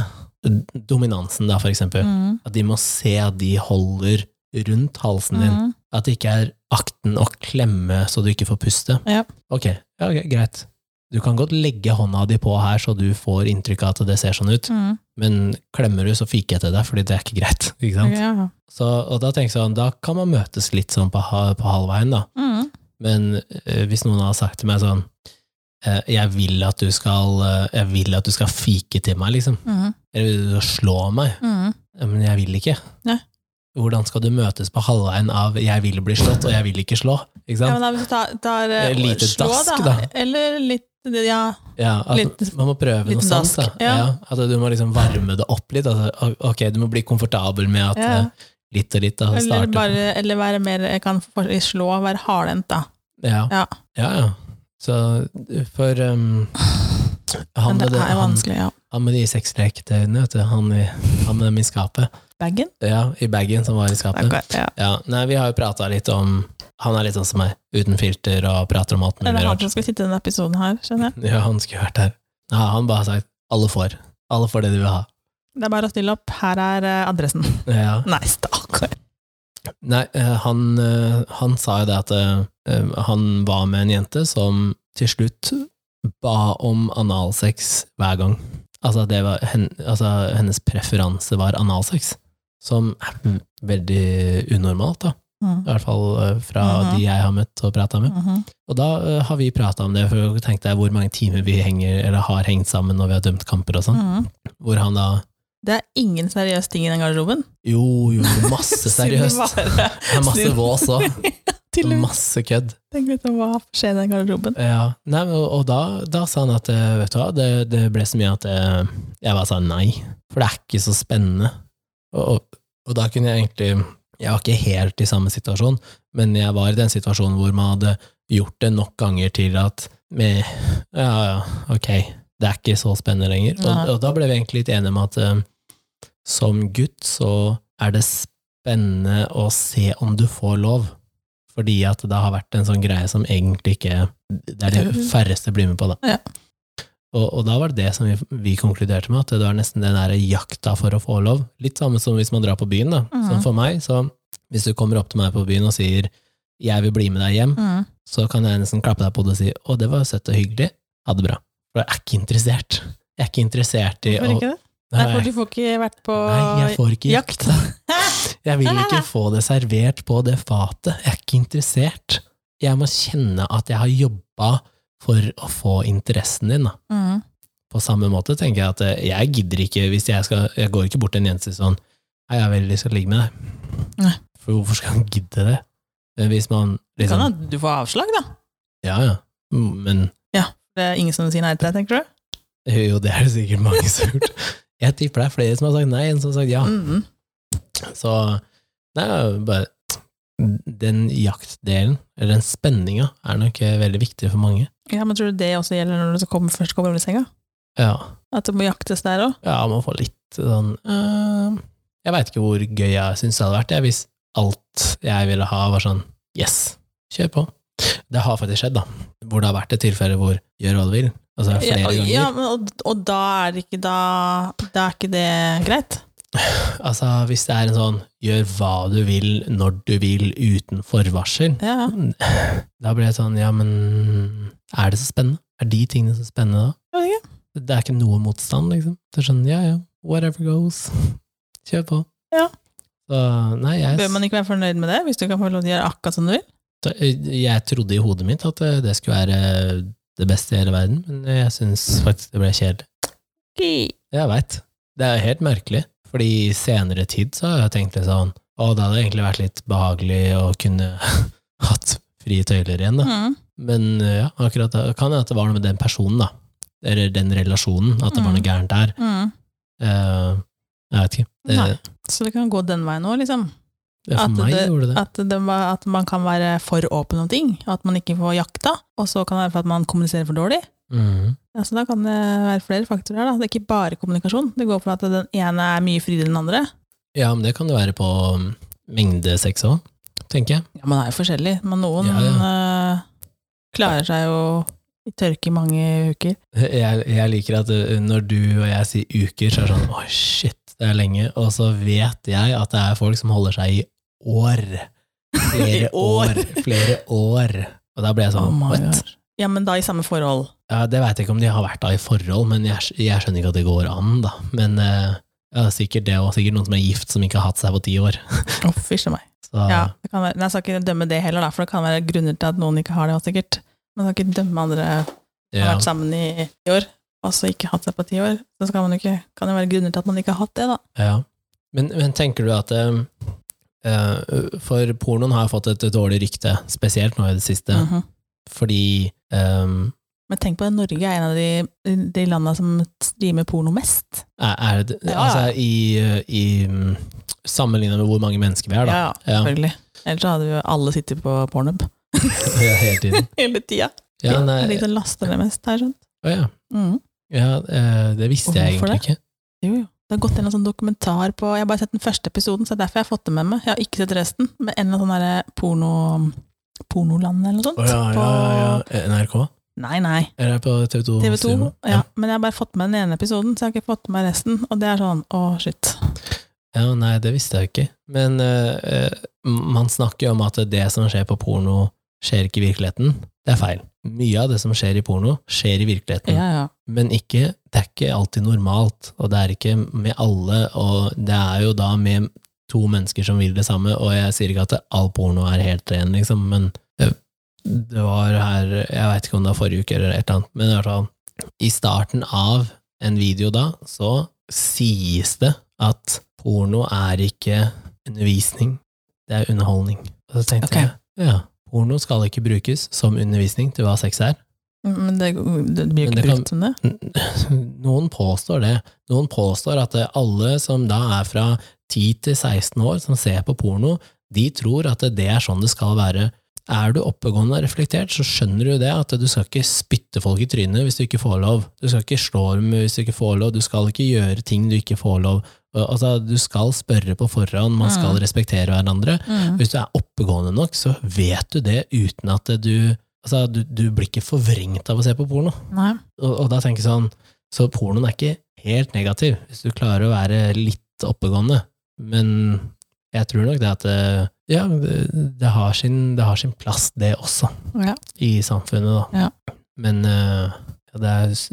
Speaker 1: dominansen, da, for eksempel,
Speaker 2: Mm.
Speaker 1: at de må se at de holder rundt halsen din,
Speaker 2: Mm.
Speaker 1: At det ikke er akten å klemme så du ikke får puste.
Speaker 2: Ja.
Speaker 1: Ok, ja, ok, greit. Du kan godt legge hånda di på her så du får inntrykk av at det ser sånn ut,
Speaker 2: Mm.
Speaker 1: men klemmer du så fiker jeg til deg, fordi det er ikke greit. Ikke sant?
Speaker 2: Ok, ja.
Speaker 1: Så, og da tenker jeg sånn, da kan man møtes litt sånn på, ha- på halvveien da.
Speaker 2: Mm.
Speaker 1: Men eh, hvis noen har sagt til meg sånn, eh, jeg vil at du skal, eh, jeg vil at du skal fike til meg liksom,
Speaker 2: Mm.
Speaker 1: eller vil du slå meg,
Speaker 2: Mm.
Speaker 1: Ja, men jeg vil ikke.
Speaker 2: Nei.
Speaker 1: Hvordan skal du møtes på halvveien av jeg vil bli slått og jeg vil ikke slå? Ikke
Speaker 2: Ja,
Speaker 1: sant?
Speaker 2: men da, hvis du tar, tar eh,
Speaker 1: Eh, lite
Speaker 2: slå,
Speaker 1: dask,
Speaker 2: da.
Speaker 1: da.
Speaker 2: Eller litt Ja.
Speaker 1: Ja, at
Speaker 2: Litt-
Speaker 1: man må prøve
Speaker 2: litt
Speaker 1: noe sånt. Da.
Speaker 2: dansk, ja.
Speaker 1: Ja. at du må liksom varme det opp litt. Altså, ok, du må bli komfortabel med at
Speaker 2: Ja.
Speaker 1: eh, litt og litt da,
Speaker 2: Eller,
Speaker 1: starter
Speaker 2: bare, eller være mer Jeg kan for- slå og være hardhendt, da.
Speaker 1: ja.
Speaker 2: Ja.
Speaker 1: Ja. ja, Så for um, han,
Speaker 2: Men
Speaker 1: med
Speaker 2: det
Speaker 1: det,
Speaker 2: er jo
Speaker 1: han,
Speaker 2: vanskelig, ja.
Speaker 1: han med de sexleketøyene, vet du, han, i, han med dem i skapet.
Speaker 2: Bagen?
Speaker 1: Ja, i bagen som var i
Speaker 2: Det er
Speaker 1: skapet.
Speaker 2: godt, Ja.
Speaker 1: Ja, nei, vi har jo prata litt om Han er litt sånn som meg, uten filter og prater om alt
Speaker 2: Det er
Speaker 1: mulig
Speaker 2: han
Speaker 1: rart.
Speaker 2: som skal sitte i denne episoden her, skjønner jeg.
Speaker 1: Ja, han skulle vært her. Ja, han bare har sagt 'alle får'. Alle får det de vil ha.
Speaker 2: Det er bare å stille opp. Her er eh, adressen.
Speaker 1: Ja.
Speaker 2: Nei, stakkar.
Speaker 1: Nei, eh, han, eh, han sa jo det at eh, han var med en jente som til slutt ba om analsex hver gang. Altså, det var, hen, altså hennes preferanse var analsex, som er veldig unormalt, da.
Speaker 2: Mm.
Speaker 1: I hvert fall eh, fra
Speaker 2: Mhm.
Speaker 1: de jeg har møtt og prata med.
Speaker 2: Mhm.
Speaker 1: Og da eh, har vi prata om det, for tenk deg hvor mange timer vi henger, eller har hengt sammen når vi har dømt kamper og sånn.
Speaker 2: Mhm.
Speaker 1: Hvor han da
Speaker 2: Det er ingen seriøse ting i den garderoben.
Speaker 1: Jo, jo, masse seriøst.
Speaker 2: Skulle bare-
Speaker 1: Det er masse vås òg.
Speaker 2: Til og med
Speaker 1: Masse kødd.
Speaker 2: tenk litt om hva skjer i den garderoben.
Speaker 1: Ja, nei, men, og og da, da sa han at eh, vet du hva, det, det ble så mye at eh, jeg bare sa nei, for det er ikke så spennende. Og, og, og da kunne jeg egentlig Jeg var ikke helt i samme situasjon, men jeg var i den situasjonen hvor man hadde gjort det nok ganger til at med, Ja, ja, ok, det er ikke så spennende lenger.
Speaker 2: Nei.
Speaker 1: Og, og da ble vi egentlig litt enige om at eh, som gutt så er det spennende å se om du får lov. Fordi at det har vært en sånn greie som egentlig ikke Det er det færreste blir med på, da.
Speaker 2: Ja.
Speaker 1: Og, og da var det det som vi, vi konkluderte med, at det var nesten den der jakta for å få lov. Litt samme som hvis man drar på byen, da.
Speaker 2: Mhm.
Speaker 1: Sånn for meg, så hvis du kommer opp til meg på byen og sier 'jeg vil bli med deg hjem',
Speaker 2: Mm.
Speaker 1: så kan jeg nesten klappe deg på det og si 'Å, det var søtt og hyggelig. Ha det bra'. For jeg er ikke interessert. Jeg er ikke interessert i
Speaker 2: Hvorfor
Speaker 1: å
Speaker 2: ikke det? Nei, for
Speaker 1: Nei,
Speaker 2: du får ikke vært på
Speaker 1: nei, jeg får ikke
Speaker 2: jakt.
Speaker 1: jakta. Jeg vil ikke få det servert på det fatet. Jeg er ikke interessert. Jeg må kjenne at jeg har jobba for å få interessen din, da.
Speaker 2: Mm.
Speaker 1: På samme måte tenker jeg at eh, jeg gidder ikke hvis jeg skal Jeg går ikke bort til en jente og sier sånn 'Hei, jeg har veldig lyst til å ligge med deg'.
Speaker 2: Nei.
Speaker 1: For hvorfor skal han gidde det? Men hvis man
Speaker 2: Det kan
Speaker 1: liksom
Speaker 2: hende du får avslag, da.
Speaker 1: Ja, ja. Mm, Men
Speaker 2: Det er ingen som sier nei til deg, tenker du?
Speaker 1: Jo, det er det sikkert mange som har gjort. Jeg tipper det er flere som har sagt nei, enn som har sagt ja.
Speaker 2: Mm.
Speaker 1: Så det er jo bare Den jaktdelen, eller den spenninga, er nok eh, veldig viktig for mange.
Speaker 2: Ja, men tror du det også gjelder når du så kommer, først kommer over senga?
Speaker 1: Ja,
Speaker 2: At det må jaktes der òg?
Speaker 1: ja man får litt sånn eh, Jeg veit ikke hvor gøy jeg syns det hadde vært jeg, hvis alt jeg ville ha, var sånn yes, kjør på. Det har faktisk skjedd, da. Hvor det har vært et tilfelle hvor gjør hva du vil. Altså flere
Speaker 2: Ja,
Speaker 1: ganger.
Speaker 2: ja, men, og, og da er det ikke da, da er ikke det greit?
Speaker 1: Altså, hvis det er en sånn gjør hva du vil, når du vil, uten forvarsel,
Speaker 2: Ja, ja.
Speaker 1: Da ble jeg sånn, ja, men er det så spennende? Er de tingene så spennende da?
Speaker 2: Jeg vet
Speaker 1: ikke. Det er ikke noe motstand, liksom. Det er sånn, ja, ja, whatever goes. Kjør på.
Speaker 2: Ja.
Speaker 1: Så, nei, jeg,
Speaker 2: Bør man ikke være fornøyd med det, hvis du kan få lov til å gjøre akkurat som du vil?
Speaker 1: jeg trodde i hodet mitt at eh, det skulle være det beste i hele verden, men eh, jeg synes faktisk det ble kjedelig. Jeg vet. Det er helt merkelig, fordi i senere tid så har jeg tenkt litt sånn, å, det hadde egentlig vært litt behagelig å kunne hatt frie tøyler igjen, da.
Speaker 2: Mm.
Speaker 1: Men eh, ja, akkurat det kan hende at det var noe med den personen, da. Eller den relasjonen, at det var noe
Speaker 2: Mm.
Speaker 1: gærent der.
Speaker 2: Mm.
Speaker 1: Eh, jeg vet ikke. Eh, Det,
Speaker 2: Nei. Så det kan gå den veien òg, liksom.
Speaker 1: det, for
Speaker 2: At
Speaker 1: meg
Speaker 2: det-
Speaker 1: gjorde det det.
Speaker 2: At, det var, at man kan være for åpen om ting, og at man ikke får jakta. Og så kan det være for at man kommuniserer for dårlig.
Speaker 1: Mm.
Speaker 2: Ja, så da kan det være flere faktorer. Da. Det er ikke bare kommunikasjon. Det går på at den ene er mye friere enn den andre.
Speaker 1: Ja, men det kan jo være på mm, mengde sex òg, tenker jeg.
Speaker 2: Ja, man er jo forskjellig, men noen
Speaker 1: Ja,
Speaker 2: eh, klarer seg jo i tørke i mange uker.
Speaker 1: jeg. Jeg liker at eh, når du og jeg sier uker, så er det sånn åh, shit, det er lenge. Og så vet jeg at det er folk som holder seg i år. Flere
Speaker 2: I år.
Speaker 1: år. Flere år. Og da ble jeg sånn
Speaker 2: Oh my
Speaker 1: what?
Speaker 2: God. Ja, men da i samme forhold.
Speaker 1: Ja, det veit jeg ikke om de har vært da i forhold, men jeg, skj- jeg skjønner ikke at det går an, da. Men eh, ja, sikkert det, og sikkert noen som er gift som ikke har hatt seg på ti år.
Speaker 2: Å, fysj a meg.
Speaker 1: Så
Speaker 2: Ja, det kan være, nei, jeg skal ikke dømme det heller, da, for det kan være grunner til at noen ikke har det også, sikkert. Man skal ikke dømme andre som har
Speaker 1: ja,
Speaker 2: vært sammen i ti år, og så ikke hatt seg på ti år. Så skal man jo ikke, kan det være grunner til at man ikke har hatt det, da.
Speaker 1: ja. Men, men tenker du at eh, eh, For pornoen har fått et dårlig rykte, spesielt nå i det siste,
Speaker 2: Mhm.
Speaker 1: fordi eh,
Speaker 2: Men tenk på det, Norge er en av de, de landene som streamer porno mest.
Speaker 1: er, er det,
Speaker 2: Ja, ja.
Speaker 1: Altså, i, i mm, Sammenligna med hvor mange mennesker vi er, da.
Speaker 2: Ja,
Speaker 1: Ja.
Speaker 2: selvfølgelig. Ellers så hadde vi jo alle sittet på pornhub
Speaker 1: Ja, hele tiden.
Speaker 2: hele tida.
Speaker 1: Ja, nei,
Speaker 2: Det er de som laster det mest, har jeg skjønt.
Speaker 1: å ja.
Speaker 2: Mm.
Speaker 1: ja, eh, det visste jeg
Speaker 2: Hvorfor
Speaker 1: egentlig ikke.
Speaker 2: Jo, jo. Det har gått en eller annen sånn dokumentar på Jeg har bare sett den første episoden, så det er derfor jeg har fått det med meg. Jeg har ikke sett resten, men en eller annen sånn derre porno, pornoland eller noe sånt.
Speaker 1: Å ja, ja, ja. Eh, NRK?
Speaker 2: På, nei, nei.
Speaker 1: Eller på TV 2?
Speaker 2: TV 2. Ja, men jeg har bare fått med den ene episoden, så jeg har ikke fått med resten. Og det er sånn, å shit.
Speaker 1: Ja, nei, det visste jeg ikke. Men eh, eh, man snakker jo om at det som skjer på porno, skjer ikke i virkeligheten. Det er feil. Mye av det som skjer i porno, skjer i virkeligheten.
Speaker 2: Ja, ja.
Speaker 1: Men ikke, det er ikke alltid normalt, og det er ikke med alle, og det er jo da med to mennesker som vil det samme, og jeg sier ikke at det- all porno er helt ren, liksom, men det, det var her, jeg vet ikke om det var forrige uke eller et eller annet, men i hvert fall, i starten av en video da, så sies det at porno er ikke undervisning, det er underholdning. Og så tenkte
Speaker 2: Ok.
Speaker 1: jeg, ja, porno skal ikke brukes som undervisning til hva sex er,
Speaker 2: Mm, Men det, det blir jo
Speaker 1: Men
Speaker 2: ikke
Speaker 1: det kan-
Speaker 2: brukt som det.
Speaker 1: noen påstår det. Noen påstår at eh, alle som da er fra 10 til 16 år som ser på porno, de tror at det er sånn det skal være. er du oppegående og reflektert, så skjønner du det at du skal ikke spytte folk i trynet hvis du ikke får lov. Du skal ikke slå dem hvis du ikke får lov, du skal ikke gjøre ting du ikke får lov. Altså, du skal spørre på forhånd, man skal
Speaker 2: Mm.
Speaker 1: respektere hverandre. Hvis du er oppegående nok, så vet du det uten at du Altså, du, du blir ikke forvrengt av å se på porno.
Speaker 2: Nei.
Speaker 1: Og, og da tenker jeg sånn, så pornoen er ikke helt negativ, hvis du klarer å være litt oppegående. Men jeg tror nok det at eh, ja, det, det, har sin, det har sin plass, det også,
Speaker 2: Ja.
Speaker 1: i samfunnet, da. Men eh, ja, det, er, s-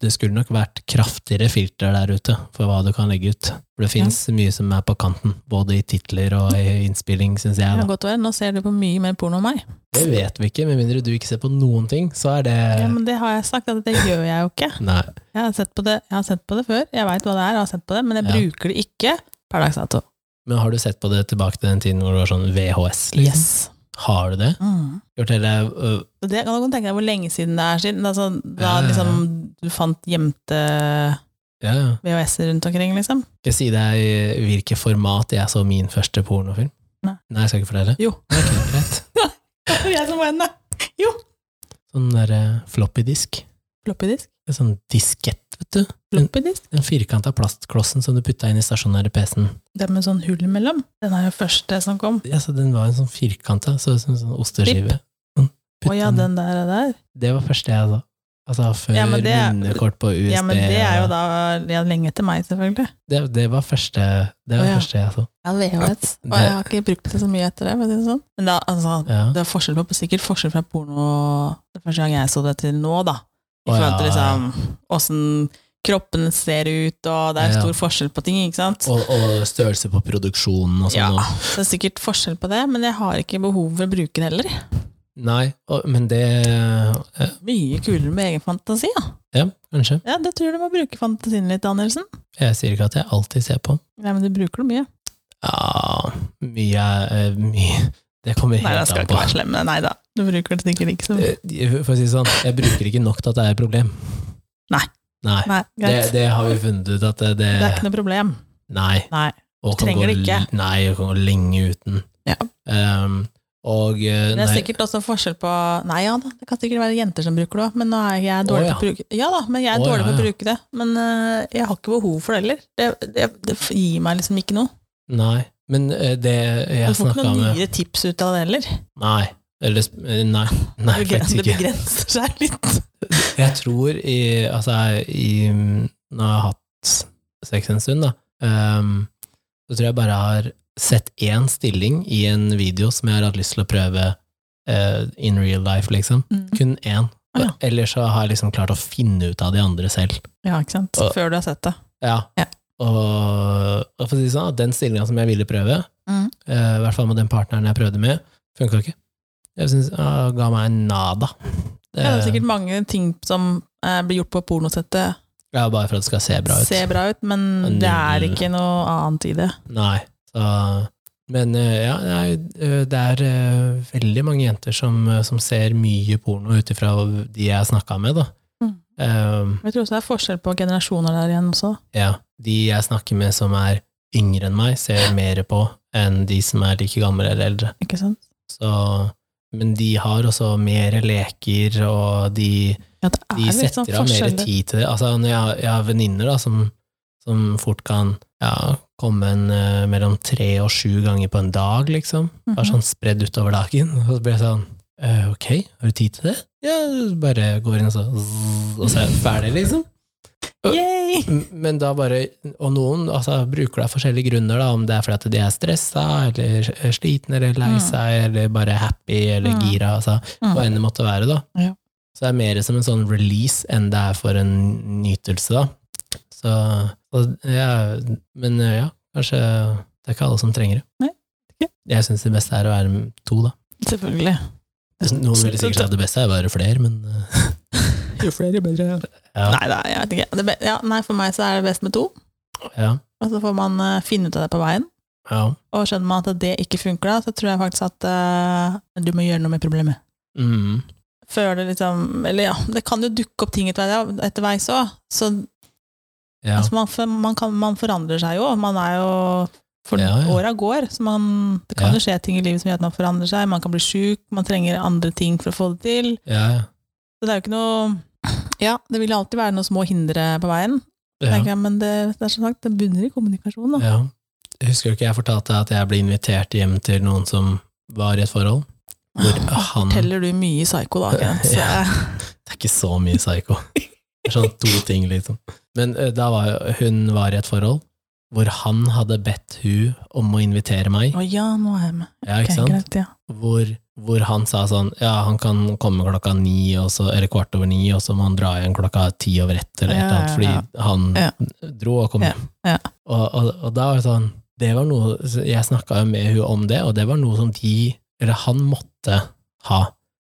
Speaker 1: det skulle nok vært kraftigere filter der ute for hva du kan legge ut. For det fins mye som er på kanten, både i titler og i innspilling, syns
Speaker 2: Det
Speaker 1: jeg.
Speaker 2: kan
Speaker 1: Da.
Speaker 2: godt være. Nå ser du på mye mer porno enn meg.
Speaker 1: Det vet vi ikke, med mindre du ikke ser på noen ting, så er det
Speaker 2: Ja, men det har jeg sagt, at det gjør jeg jo ikke.
Speaker 1: Nei.
Speaker 2: Jeg har sett på det, jeg har sett på det før, jeg veit hva det er, jeg har sett på det, men jeg
Speaker 1: Ja.
Speaker 2: bruker det ikke per dags dato.
Speaker 1: Men har du sett på det tilbake til den tiden hvor det var sånn VHS? Liksom?
Speaker 2: Yes.
Speaker 1: Har du det?
Speaker 2: Mm.
Speaker 1: Gjort hele øh,
Speaker 2: Og det kan du tenke deg hvor lenge siden det er siden. Altså, da
Speaker 1: Ja, ja, ja.
Speaker 2: liksom du fant gjemte
Speaker 1: ja, ja.
Speaker 2: VHS-er rundt omkring, liksom.
Speaker 1: Skal jeg si deg i hvilket format jeg så min første pornofilm?
Speaker 2: Nei.
Speaker 1: jeg skal ikke fortelle.
Speaker 2: Jo.
Speaker 1: Ok, greit.
Speaker 2: jeg som var henne! Jo!
Speaker 1: Sånn der eh, floppy disk.
Speaker 2: Floppydisk.
Speaker 1: En Sånn diskett, vet du.
Speaker 2: Floppydisk.
Speaker 1: Den firkanta plastklossen som du putta inn i stasjonære PC-en.
Speaker 2: Det med sånn hull imellom. Den er jo første som kom.
Speaker 1: Ja, så den var en sånn firkanta, så ut som en sånn osteskive. Sånn, putt
Speaker 2: Å ja,
Speaker 1: den-
Speaker 2: den der er der.
Speaker 1: Det var første jeg så. Altså før
Speaker 2: Ja, men det er-
Speaker 1: minnekort på USB.
Speaker 2: Ja, men det er jo
Speaker 1: og-
Speaker 2: da ja, lenge etter meg, selvfølgelig.
Speaker 1: det, det var første, det var
Speaker 2: Å, ja.
Speaker 1: første jeg så.
Speaker 2: Ja, VHS. Og
Speaker 1: Det-
Speaker 2: jeg har ikke brukt det så mye etter det. for å si det sånn. Men da, altså,
Speaker 1: Ja.
Speaker 2: det er forskjell på, sikkert forskjell fra porno det første gang jeg så det til nå, da. I
Speaker 1: Å, ja,
Speaker 2: forhold til liksom, åssen kroppen ser ut, og det er
Speaker 1: Ja, ja.
Speaker 2: stor forskjell på ting, ikke sant.
Speaker 1: Og, og størrelse på produksjonen og sånn.
Speaker 2: Ja,
Speaker 1: og-
Speaker 2: det er sikkert forskjell på det, men jeg har ikke behov for å bruke det heller.
Speaker 1: Nei, og, men det eh,
Speaker 2: Mye kulere med egen fantasi, ja.
Speaker 1: Ja, kanskje.
Speaker 2: ja det tror jeg du må bruke fantasien litt, Danielsen.
Speaker 1: Jeg sier ikke at jeg alltid ser på.
Speaker 2: Nei, men du bruker det mye.
Speaker 1: Ja, mye er eh, mye Det kommer
Speaker 2: Nei, jeg
Speaker 1: helt
Speaker 2: skal
Speaker 1: an
Speaker 2: ikke
Speaker 1: på.
Speaker 2: være slem, men nei da. Du bruker det sikkert ikke så mye.
Speaker 1: Eh, For å si det sånn, jeg bruker ikke nok til at det er et problem.
Speaker 2: Nei.
Speaker 1: Nei.
Speaker 2: Nei,
Speaker 1: Det,
Speaker 2: greit.
Speaker 1: det har vi funnet ut at det, det,
Speaker 2: Det er ikke noe problem.
Speaker 1: Nei.
Speaker 2: Nei.
Speaker 1: Og
Speaker 2: Du
Speaker 1: kan
Speaker 2: trenger
Speaker 1: gå
Speaker 2: det ikke.
Speaker 1: l- Nei, jeg kan gå lenge uten.
Speaker 2: Ja.
Speaker 1: Ehm, og eh,
Speaker 2: Det er
Speaker 1: nei,
Speaker 2: sikkert også forskjell på Nei ja da, det kan sikkert være jenter som bruker det òg, men nå er jeg
Speaker 1: Å,
Speaker 2: dårlig
Speaker 1: ja.
Speaker 2: på å bruke Ja da, men jeg er
Speaker 1: Å,
Speaker 2: dårlig
Speaker 1: ja,
Speaker 2: på å
Speaker 1: ja.
Speaker 2: bruke det. Men øh, jeg har ikke behov for det heller. Det, det, det gir meg liksom ikke noe.
Speaker 1: nei. Men eh, det
Speaker 2: Du
Speaker 1: jeg
Speaker 2: får ikke
Speaker 1: snakka
Speaker 2: noen
Speaker 1: med
Speaker 2: nyere tips ut av det heller.
Speaker 1: Nei. Eller sp- eh, Nei, nei
Speaker 2: Det begren-
Speaker 1: faktisk
Speaker 2: det
Speaker 1: ikke.
Speaker 2: begrenser seg litt.
Speaker 1: Jeg tror i, altså, i Når jeg har hatt sex en stund, da, ehm, så tror jeg bare jeg har sett én stilling i en video som jeg har hatt lyst til å prøve eh, in real life, liksom.
Speaker 2: Mm.
Speaker 1: Kun én.
Speaker 2: Ah, ja.
Speaker 1: Ellers så har jeg liksom klart å finne ut av de andre selv.
Speaker 2: Ja, ikke sant.
Speaker 1: Og-
Speaker 2: Før du har sett det.
Speaker 1: Ja.
Speaker 2: Ja.
Speaker 1: Og, og for å si det sånn, at den stillinga som jeg ville prøve,
Speaker 2: Mm.
Speaker 1: eh, i hvert fall med den partneren jeg prøvde med, funka ikke. Jeg synes, ah, ga meg en nada. Det,
Speaker 2: Ja, det er sikkert mange ting som eh, blir gjort på
Speaker 1: Eh,
Speaker 2: pornosettet,
Speaker 1: ja, bare for at det skal se bra ut.
Speaker 2: ser bra ut, men
Speaker 1: Men
Speaker 2: det er
Speaker 1: null-
Speaker 2: ikke noe annet i det.
Speaker 1: Nei. Så, men eh, ja, nei, eh, det er eh, veldig mange jenter som, eh, som ser mye porno ut ifra de jeg snakka med, da.
Speaker 2: Mm.
Speaker 1: Eh,
Speaker 2: Jeg tror også det er forskjell på generasjoner der igjen også.
Speaker 1: ja. De jeg snakker med som er yngre enn meg, ser mer på enn de som er like gamle eller eldre.
Speaker 2: Ikke sant?
Speaker 1: Så, men de har også mer leker, og de
Speaker 2: Ja, det er
Speaker 1: de
Speaker 2: litt
Speaker 1: setter
Speaker 2: sånn
Speaker 1: av mer
Speaker 2: forskjell.
Speaker 1: tid til det. Altså, når jeg, har- jeg har venninner da, som, som fort kan ja, komme en, eh, mellom tre og sju ganger på en dag, liksom.
Speaker 2: Mhm.
Speaker 1: Bare sånn spredd utover dagen. Og så blir jeg sånn «Eh, Ok, har du tid til det? Ja, bare går inn og så zzz, Og så er jeg ferdig, liksom.
Speaker 2: Yay!
Speaker 1: M- Men da bare Og noen altså, bruker det av forskjellige grunner, da, om det er fordi at de er stressa, eller slitne, eller lei
Speaker 2: Mm.
Speaker 1: seg, eller bare happy, eller
Speaker 2: Mm.
Speaker 1: gira, altså, hva enn det måtte være, da.
Speaker 2: Ja.
Speaker 1: Så det er mer som en sånn release enn det er for en nytelse, da. Så, og ja, Men ja, kanskje det er ikke alle som trenger det.
Speaker 2: Nei, ikke.
Speaker 1: Jeg syns det beste er å være to, da.
Speaker 2: Selvfølgelig.
Speaker 1: Noen ville sikkert sagt det beste er å være flere, men eh,
Speaker 2: Jo flere, jo bedre.
Speaker 1: Ja.
Speaker 2: Nei, da, jeg vet ikke. Det be ja, nei, for meg så er det best med to.
Speaker 1: ja.
Speaker 2: Og så får man eh, finne ut av det på veien.
Speaker 1: ja.
Speaker 2: Og skjønner man at det ikke funker, da, så tror jeg faktisk at eh, du må gjøre noe med problemet.
Speaker 1: Mm.
Speaker 2: Før det liksom Eller ja, det kan jo dukke opp ting etter vei- etterveis òg. Så
Speaker 1: ja.
Speaker 2: altså, man, for- man, kan, man forandrer seg jo. Man er jo For
Speaker 1: Ja, ja.
Speaker 2: åra går, så man, det kan
Speaker 1: Ja.
Speaker 2: jo skje ting i livet som gjør at man forandrer seg. Man kan bli sjuk, man trenger andre ting for å få det til.
Speaker 1: Ja, ja.
Speaker 2: Så det er jo ikke noe Ja, det vil alltid være noen små hindre på veien.
Speaker 1: ja.
Speaker 2: tenker jeg, Men det, det er som sagt, det bunner i kommunikasjon. Da.
Speaker 1: Ja. Husker du ikke jeg fortalte deg at jeg ble invitert hjem til noen som var i et forhold? Hvor
Speaker 2: Ah,
Speaker 1: han Det
Speaker 2: Forteller du mye psyko, da, Kent. Så,
Speaker 1: Ja. er ikke så mye psycho. Det er sånn to ting, liksom. Men eh, da var jo- hun var i et forhold hvor han hadde bedt hun om å invitere meg.
Speaker 2: Å ja, nå er jeg med.
Speaker 1: Ja, ikke
Speaker 2: Ok,
Speaker 1: sant?
Speaker 2: greit, ja.
Speaker 1: Hvor, hvor han sa sånn Ja, han kan komme klokka ni, og så, eller kvart over ni, og så må han dra igjen klokka ti over ett, eller et
Speaker 2: Ja,
Speaker 1: eller annet, fordi
Speaker 2: ja,
Speaker 1: han
Speaker 2: Ja.
Speaker 1: dro og kom
Speaker 2: Ja,
Speaker 1: hjem.
Speaker 2: ja.
Speaker 1: Og, og, og da var det sånn det var noe, Jeg snakka jo med hun om det, og det var noe som de Eller han måtte ha.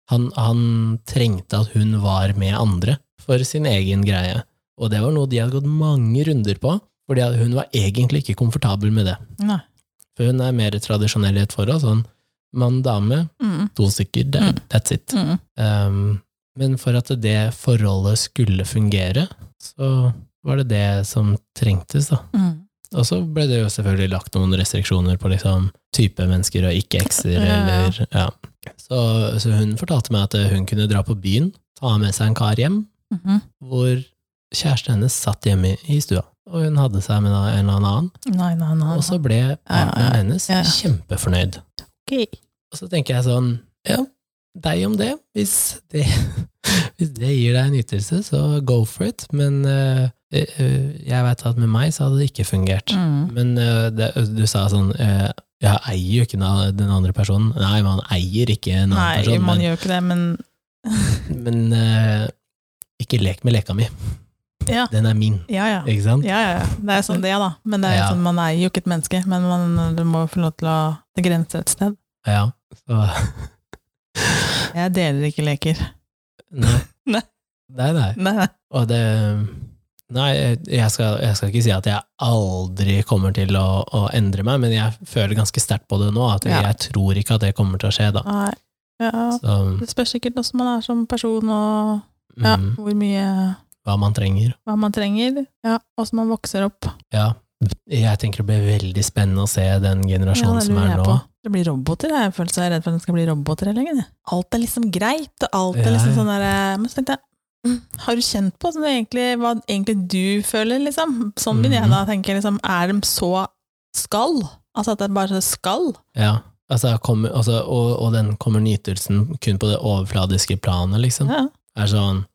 Speaker 1: Han, han trengte at hun var med andre for sin egen greie. Og det var noe de hadde gått mange runder på, fordi at hun var egentlig ikke komfortabel med det.
Speaker 2: Nei.
Speaker 1: For hun er mer tradisjonell i et forhold. Sånn mann, dame,
Speaker 2: Mm,
Speaker 1: to stykker, det-
Speaker 2: Mm.
Speaker 1: that's it.
Speaker 2: mm.
Speaker 1: Um, men for at det forholdet skulle fungere, så var det det som trengtes, da.
Speaker 2: Mm.
Speaker 1: Og så ble det jo selvfølgelig lagt noen restriksjoner på liksom type mennesker og ikke ekser,
Speaker 2: Ja, ja.
Speaker 1: eller ja. Så, så hun fortalte meg at hun kunne dra på byen, ta med seg en kar hjem,
Speaker 2: Mhm.
Speaker 1: hvor kjæresten hennes satt hjemme i stua, og hun hadde seg med en eller annen,
Speaker 2: Nei, nei, nei.
Speaker 1: og så ble
Speaker 2: Ja, ja,
Speaker 1: partneren hennes
Speaker 2: ja, ja.
Speaker 1: kjempefornøyd.
Speaker 2: Ok.
Speaker 1: Og så tenker jeg sånn, ja, deg om det. Hvis det, hvis det gir deg en ytelse, så go for it. Men eh, eh, jeg veit at med meg så hadde det ikke fungert.
Speaker 2: Mm.
Speaker 1: Men eh, det, du sa sånn eh, Jeg eier jo ikke den an- den andre personen. Nei, man eier ikke en annen
Speaker 2: Nei,
Speaker 1: person,
Speaker 2: man
Speaker 1: men,
Speaker 2: gjør ikke det, men
Speaker 1: men eh, ikke lek med leka mi.
Speaker 2: Ja.
Speaker 1: Den er min,
Speaker 2: ja, ja.
Speaker 1: ikke sant?
Speaker 2: Ja, ja, ja. Det er sånn det er, da. Men det er jo
Speaker 1: Ja.
Speaker 2: sånn, man er jo ikke et menneske, men man du må få lov til å Det grenser et sted.
Speaker 1: Ja. Så
Speaker 2: Jeg deler ikke leker.
Speaker 1: nei.
Speaker 2: Nei.
Speaker 1: Nei, nei.
Speaker 2: Nei, nei.
Speaker 1: Og det Nei, jeg skal, jeg skal ikke si at jeg aldri kommer til å, å endre meg, men jeg føler ganske sterkt på det nå, at
Speaker 2: Ja.
Speaker 1: jeg tror ikke at det kommer til å skje, da.
Speaker 2: Nei. Ja,
Speaker 1: Så,
Speaker 2: det spørs sikkert hvordan man er som person, og ja,
Speaker 1: mm,
Speaker 2: hvor mye
Speaker 1: hva man trenger.
Speaker 2: hva man trenger, ja, åssen man vokser opp.
Speaker 1: Ja. Jeg tenker det blir veldig spennende å se den
Speaker 2: Ja,
Speaker 1: generasjonen
Speaker 2: det
Speaker 1: som
Speaker 2: lurer
Speaker 1: er
Speaker 2: jeg
Speaker 1: nå.
Speaker 2: på. Det blir roboter, jeg er føler seg redd for at det skal bli roboter hele lenger. Alt er liksom greit, og alt er
Speaker 1: Ja,
Speaker 2: liksom
Speaker 1: ja.
Speaker 2: sånn der eh, Men så tenkte jeg, mm, har du kjent på sånn egentlig, hva egentlig du føler, liksom? Sånn begynner
Speaker 1: Mhm.
Speaker 2: jeg da, tenker jeg liksom, er de så skall? Altså at det er bare så skall?
Speaker 1: Ja. Altså, jeg kommer, altså, og, og den kommer nytelsen kun på det overfladiske planet, liksom.
Speaker 2: Ja.
Speaker 1: Er sånn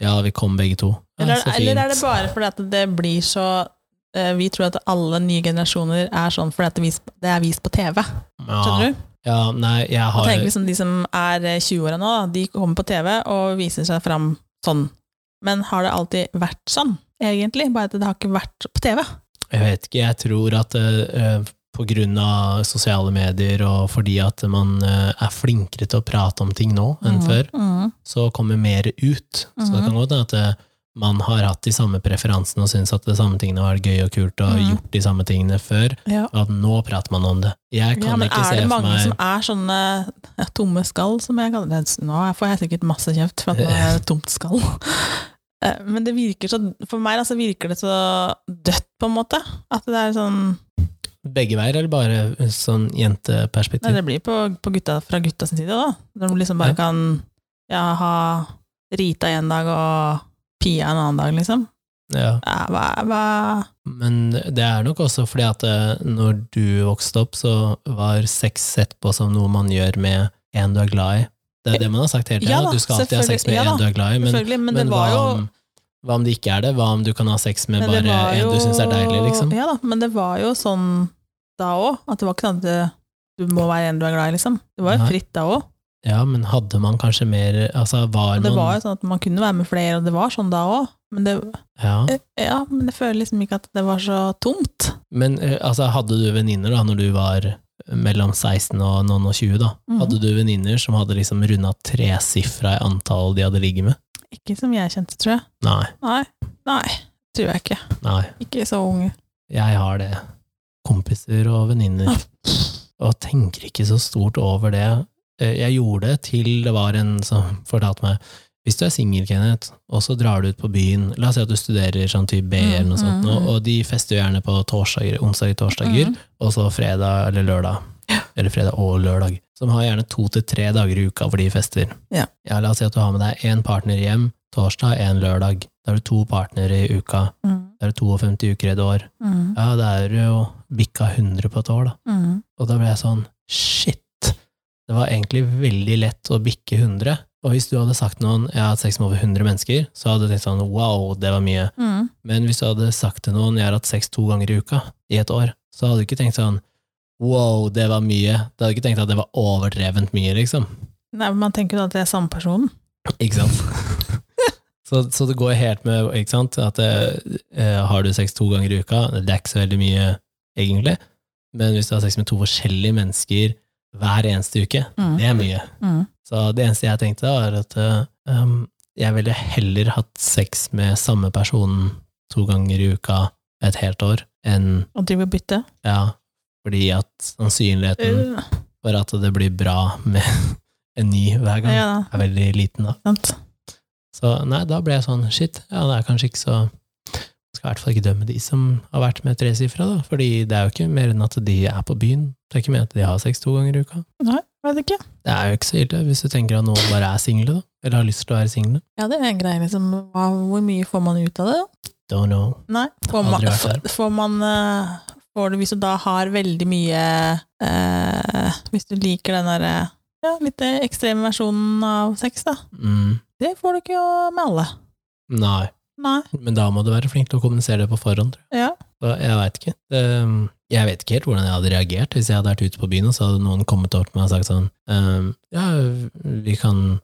Speaker 1: Ja, vi kom begge to. Ja,
Speaker 2: Eller,
Speaker 1: så fint.
Speaker 2: eller er det bare fordi at det blir så eh, vi tror at alle nye generasjoner er sånn fordi at det vis- det er vist på TV.
Speaker 1: ja.
Speaker 2: Skjønner du?
Speaker 1: Ja, nei, jeg
Speaker 2: Og
Speaker 1: har
Speaker 2: tenker liksom De som er eh, 20-åra nå, da, de kommer på TV og viser seg fram sånn. Men har det alltid vært sånn, egentlig? Bare at det har ikke vært på TV.
Speaker 1: Jeg vet ikke, jeg tror at eh, eh, på grunn av sosiale medier og fordi at man eh, er flinkere til å prate om ting nå enn før,
Speaker 2: Mm.
Speaker 1: så kommer mer ut. Så det
Speaker 2: Mhm.
Speaker 1: kan godt hende at eh, man har hatt de samme preferansene og syns at de samme tingene har vært gøy og kult og
Speaker 2: Mhm.
Speaker 1: gjort de samme tingene før,
Speaker 2: Ja.
Speaker 1: og at nå prater man om det. Jeg kan
Speaker 2: ja, men
Speaker 1: ikke
Speaker 2: er
Speaker 1: se
Speaker 2: det
Speaker 1: for
Speaker 2: mange
Speaker 1: meg
Speaker 2: som er sånne ja, tomme skall, som jeg kaller det? Nå får jeg sikkert masse kjeft for at det er et tomt skall. Eh, Men det virker så, for meg altså, virker det så dødt, på en måte. At det er sånn
Speaker 1: begge veier, eller bare sånn
Speaker 2: Nei,
Speaker 1: jenteperspektiv.
Speaker 2: det blir på, på gutta, fra gutta sin side, da. De liksom bare
Speaker 1: Ja.
Speaker 2: kan ja, ha Rita en dag og Pia en annen dag, liksom.
Speaker 1: Ja.
Speaker 2: Ja, hva, hva
Speaker 1: Men det er nok også fordi at eh, når du vokste opp, så var sex sett på som noe man gjør med en du er glad i. Det er det man har sagt hele tiden,
Speaker 2: Ja da,
Speaker 1: at du skal alltid ha sex med
Speaker 2: selvfølgelig. Ja da,
Speaker 1: en du er glad i, men,
Speaker 2: Selvfølgelig, men,
Speaker 1: men,
Speaker 2: det var
Speaker 1: hva,
Speaker 2: jo
Speaker 1: om, hva om det ikke er det? Hva om du kan ha sex med
Speaker 2: men det
Speaker 1: bare
Speaker 2: var
Speaker 1: en du syns er deilig, liksom?
Speaker 2: Ja da, men det var jo sånn da òg. At det var ikke sånn at det- du må være en du er glad i, liksom. Det var jo
Speaker 1: Nei.
Speaker 2: fritt da òg.
Speaker 1: Ja, men hadde man kanskje mer Altså, var
Speaker 2: Det
Speaker 1: man
Speaker 2: var jo sånn at man kunne være med flere, og det var sånn da òg. Men, det- eh,
Speaker 1: Ja.
Speaker 2: ja, men jeg føler liksom ikke at det var så tomt.
Speaker 1: Men eh, altså, hadde du venninner da, når du var eh, mellom 16 og noen og 20, da?
Speaker 2: Mhm.
Speaker 1: Hadde du venninner som hadde liksom runda tresifra i antall de hadde ligget med?
Speaker 2: Ikke som jeg kjente, tror jeg.
Speaker 1: Nei.
Speaker 2: Nei, nei, tror jeg ikke.
Speaker 1: Nei.
Speaker 2: Ikke så unge.
Speaker 1: Jeg har det. Kompiser og
Speaker 2: Ah.
Speaker 1: venninner. Og tenker ikke så stort over det. Eh, Jeg gjorde det til det var en som fortalte meg Hvis du er singel, Kenneth, og så drar du ut på byen La oss si at du studerer sånn type B, eller noe
Speaker 2: Mm,
Speaker 1: sånt,
Speaker 2: mm,
Speaker 1: og,
Speaker 2: mm.
Speaker 1: og de fester jo gjerne på torsdager, onsdager, torsdager,
Speaker 2: Mm.
Speaker 1: og så fredag eller lørdag. Eller fredag og lørdag. Som har gjerne to til tre dager i uka hvor de fester.
Speaker 2: Ja.
Speaker 1: La oss si at du har med deg én partner hjem torsdag, én lørdag. Da er det to partnere i uka.
Speaker 2: Mm,
Speaker 1: Da er det 52 uker i et år.
Speaker 2: mm,
Speaker 1: Ja, det er jo bikka 100 på et år, da.
Speaker 2: mm.
Speaker 1: Og da ble jeg sånn Shit! Det var egentlig veldig lett å bikke 100. Og hvis du hadde sagt noen jeg har hatt sex med over 100 mennesker, så hadde jeg tenkt sånn wow, det var mye.
Speaker 2: Mm.
Speaker 1: Men hvis du hadde sagt til noen jeg har hatt sex to ganger i uka i et år, så hadde du ikke tenkt sånn wow, det var mye. Du hadde ikke tenkt at det var overdrevent mye, liksom.
Speaker 2: Nei, men Man tenker jo at det er samme personen.
Speaker 1: Ikke sant? så, så det går helt med ikke sant? at eh, har du sex to ganger i uka, det er ikke så veldig mye, egentlig. Men hvis du har sex med to forskjellige mennesker hver eneste uke,
Speaker 2: Mm.
Speaker 1: det er mye.
Speaker 2: Mm.
Speaker 1: Så det eneste jeg tenkte, var at eh, um, jeg ville heller hatt sex med samme personen to ganger i uka et helt år, enn
Speaker 2: Og driver og bytter.
Speaker 1: ja, fordi at sannsynligheten
Speaker 2: Øh,
Speaker 1: for at det blir bra med en ny hver gang,
Speaker 2: ja, da,
Speaker 1: er veldig liten, da.
Speaker 2: sant.
Speaker 1: Så nei, da ble jeg sånn, shit, ja, det er kanskje ikke så Man skal i hvert fall ikke dømme de som har vært med tresifra, da, fordi det er jo ikke mer enn at de er på byen. Det er ikke mer at de har sex to ganger i uka.
Speaker 2: Nei, vet ikke.
Speaker 1: Det er jo ikke så ille hvis du tenker at noen bare er single, da, eller har lyst til å være single.
Speaker 2: Ja, det er en greie, liksom. Hva, hvor mye får man ut av det? da?
Speaker 1: Don't know.
Speaker 2: Nei. Får
Speaker 1: Aldri
Speaker 2: man,
Speaker 1: vært
Speaker 2: f- får man eh, får du, Hvis du da har veldig mye eh, Hvis du liker den derre ja, litt ekstreme versjonen av sex, da.
Speaker 1: Mm,
Speaker 2: Det får du ikke jo med alle.
Speaker 1: nei,
Speaker 2: Nei.
Speaker 1: men da må du være flink til å kommunisere det på forhånd. tror jeg.
Speaker 2: Ja.
Speaker 1: Så jeg veit ikke. Det, um, jeg vet ikke helt hvordan jeg hadde reagert hvis jeg hadde vært ute på byen og så hadde noen kommet opp til meg og sagt sånn ehm, Ja, vi kan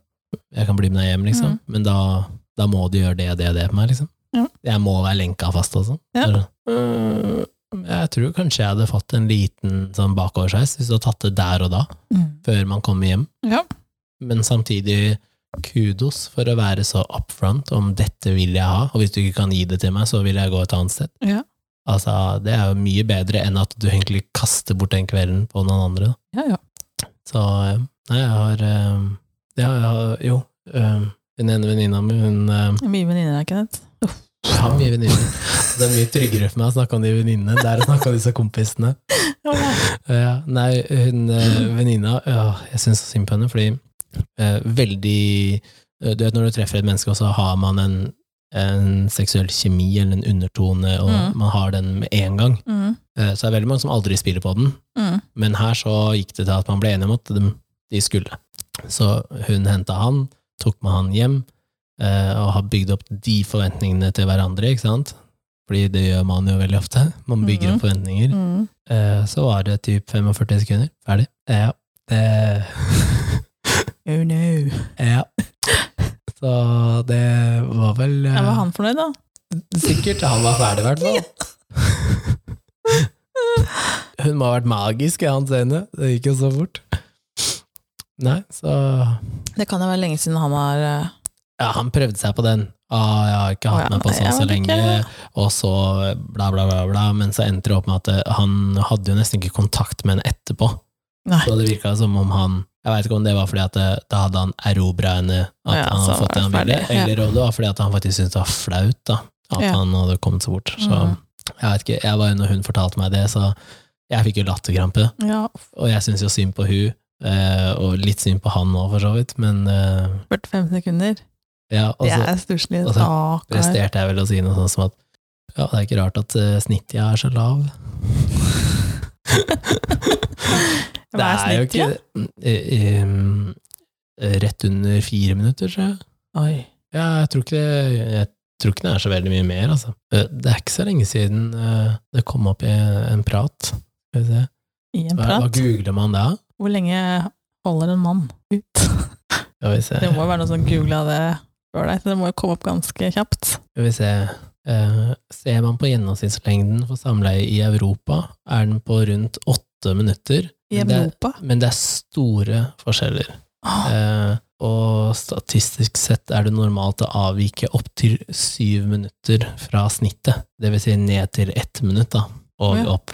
Speaker 1: Jeg kan bli med deg hjem, liksom.
Speaker 2: Mm.
Speaker 1: Men da, da må du gjøre det og det og det på meg, liksom.
Speaker 2: Ja.
Speaker 1: Jeg må være lenka fast og sånn.
Speaker 2: Ja.
Speaker 1: Så, øh, Jeg tror kanskje jeg hadde fått en liten sånn bakoversveis hvis du hadde tatt det der og da,
Speaker 2: Mm.
Speaker 1: før man kommer hjem.
Speaker 2: Ja.
Speaker 1: Men samtidig kudos for å være så upfront om 'dette vil jeg ha', og hvis du ikke kan gi det til meg, så vil jeg gå et annet sted.
Speaker 2: Ja.
Speaker 1: Altså, det er jo mye bedre enn at du egentlig kaster bort den kvelden på noen andre. da.
Speaker 2: Ja, ja.
Speaker 1: Så eh, nei, jeg har eh, jeg har, jeg har Jo, eh, den ene venninna mi, hun eh,
Speaker 2: Mye venninner, er ikke det?
Speaker 1: har mye venninner. Det er mye tryggere for meg å snakke om de venninnene. Det er å snakke om disse kompisene.
Speaker 2: Ja, ja.
Speaker 1: Ja, nei, hun eh, venninna ja, Jeg syns så synd på henne, fordi eh, veldig eh, Du vet når du treffer et menneske, og så har man en, en seksuell kjemi eller en undertone, og
Speaker 2: Mm.
Speaker 1: man har den med en gang.
Speaker 2: Mm.
Speaker 1: Eh, så det er veldig mange som aldri spiller på den,
Speaker 2: Mm.
Speaker 1: men her så gikk det til at man ble enige om at de, de skulle. Så hun henta han, tok med han hjem, eh, og har bygd opp de forventningene til hverandre, ikke sant? Fordi det gjør man jo veldig ofte. Man bygger opp forventninger.
Speaker 2: Mm.
Speaker 1: Eh, så var det typ 45 sekunder. Ferdig. Eh, Ja. Det, eh,
Speaker 2: Oh no.
Speaker 1: ja. Så det var vel eh,
Speaker 2: Ja, var han fornøyd, da?
Speaker 1: Sikkert. Han var ferdig, i hvert fall. Hun må ha vært magisk i hans øyne. Det gikk jo så fort. Nei, så
Speaker 2: Det kan jo være lenge siden han har eh,
Speaker 1: Ja, han prøvde seg på den. Ah, jeg har ikke hatt
Speaker 2: Å ja,
Speaker 1: meg på
Speaker 2: nei,
Speaker 1: sånn
Speaker 2: jeg
Speaker 1: så
Speaker 2: vet
Speaker 1: lenge,
Speaker 2: ikke.
Speaker 1: og så bla, bla, bla, bla. Men så endte det opp med at eh, han hadde jo nesten ikke kontakt med henne etterpå.
Speaker 2: Nei.
Speaker 1: Så det virka som om han Jeg veit ikke om det var fordi at eh, da hadde han erobra henne, at
Speaker 2: Ja,
Speaker 1: han hadde
Speaker 2: så
Speaker 1: fått det han
Speaker 2: var
Speaker 1: ville,
Speaker 2: det ferdig, ja.
Speaker 1: eller om det var fordi at han faktisk syntes det var flaut da at
Speaker 2: Ja.
Speaker 1: han hadde kommet så bort. Så
Speaker 2: Mhm.
Speaker 1: jeg vet ikke, jeg var jo når hun fortalte meg det, så jeg fikk jo latterkrampe,
Speaker 2: Ja,
Speaker 1: og jeg syns jo synd på hun, eh, og litt synd på han òg, for så vidt, men eh,
Speaker 2: 45 sekunder.
Speaker 1: ja, og
Speaker 2: Det
Speaker 1: så
Speaker 2: er stusslig.
Speaker 1: og så
Speaker 2: Stakkar.
Speaker 1: presterte jeg vel å si noe sånt som at ja, det er ikke rart at eh, snittet er så lav. Det
Speaker 2: Hva
Speaker 1: er jo
Speaker 2: snittet,
Speaker 1: ikke eh, eh, Rett under fire minutter, tror jeg.
Speaker 2: da? Oi.
Speaker 1: Ja, jeg tror ikke det Jeg tror ikke det er så veldig mye mer, altså. Eh, Det er ikke så lenge siden eh, det kom opp i en prat. Skal vi se.
Speaker 2: I en
Speaker 1: Hva, hva
Speaker 2: prat?
Speaker 1: googler man da?
Speaker 2: Hvor lenge holder en mann ut?
Speaker 1: Skal vi se.
Speaker 2: Det må jo være noe sånn som googla det før deg, så det må jo komme opp ganske kjapt.
Speaker 1: Skal vi se. Eh, ser man på gjennomsnittslengden for samleie i Europa, er den på rundt åtte minutter.
Speaker 2: I
Speaker 1: Men det-
Speaker 2: Europa?
Speaker 1: Men det er store forskjeller.
Speaker 2: Åh,
Speaker 1: Eh, og statistisk sett er det normalt å avvike opptil syv minutter fra snittet. Det vil si ned til ett minutt, da, og
Speaker 2: Ja.
Speaker 1: opp.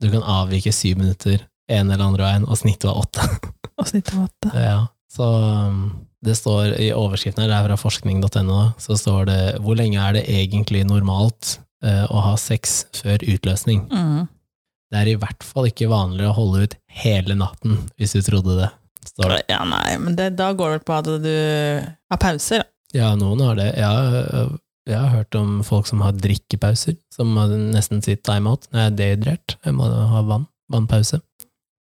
Speaker 1: Du kan avvike syv minutter en eller andre veien, og snittet var åtte.
Speaker 2: Og snittet var åtte.
Speaker 1: Ja. Så um, det står i overskriften her, det er fra forskning.no, så står det 'Hvor lenge er det egentlig normalt eh, å ha sex før utløsning?'
Speaker 2: Mm.
Speaker 1: Det er i hvert fall ikke vanlig å holde ut hele natten, hvis du trodde det. Står det.
Speaker 2: Ja, nei, men det, da går det på at du har pauser. da.
Speaker 1: Ja, noen har det. Jeg har, jeg har hørt om folk som har drikkepauser, som har nesten sier timeout når jeg er dehydrert. Jeg må ha vann, vannpause.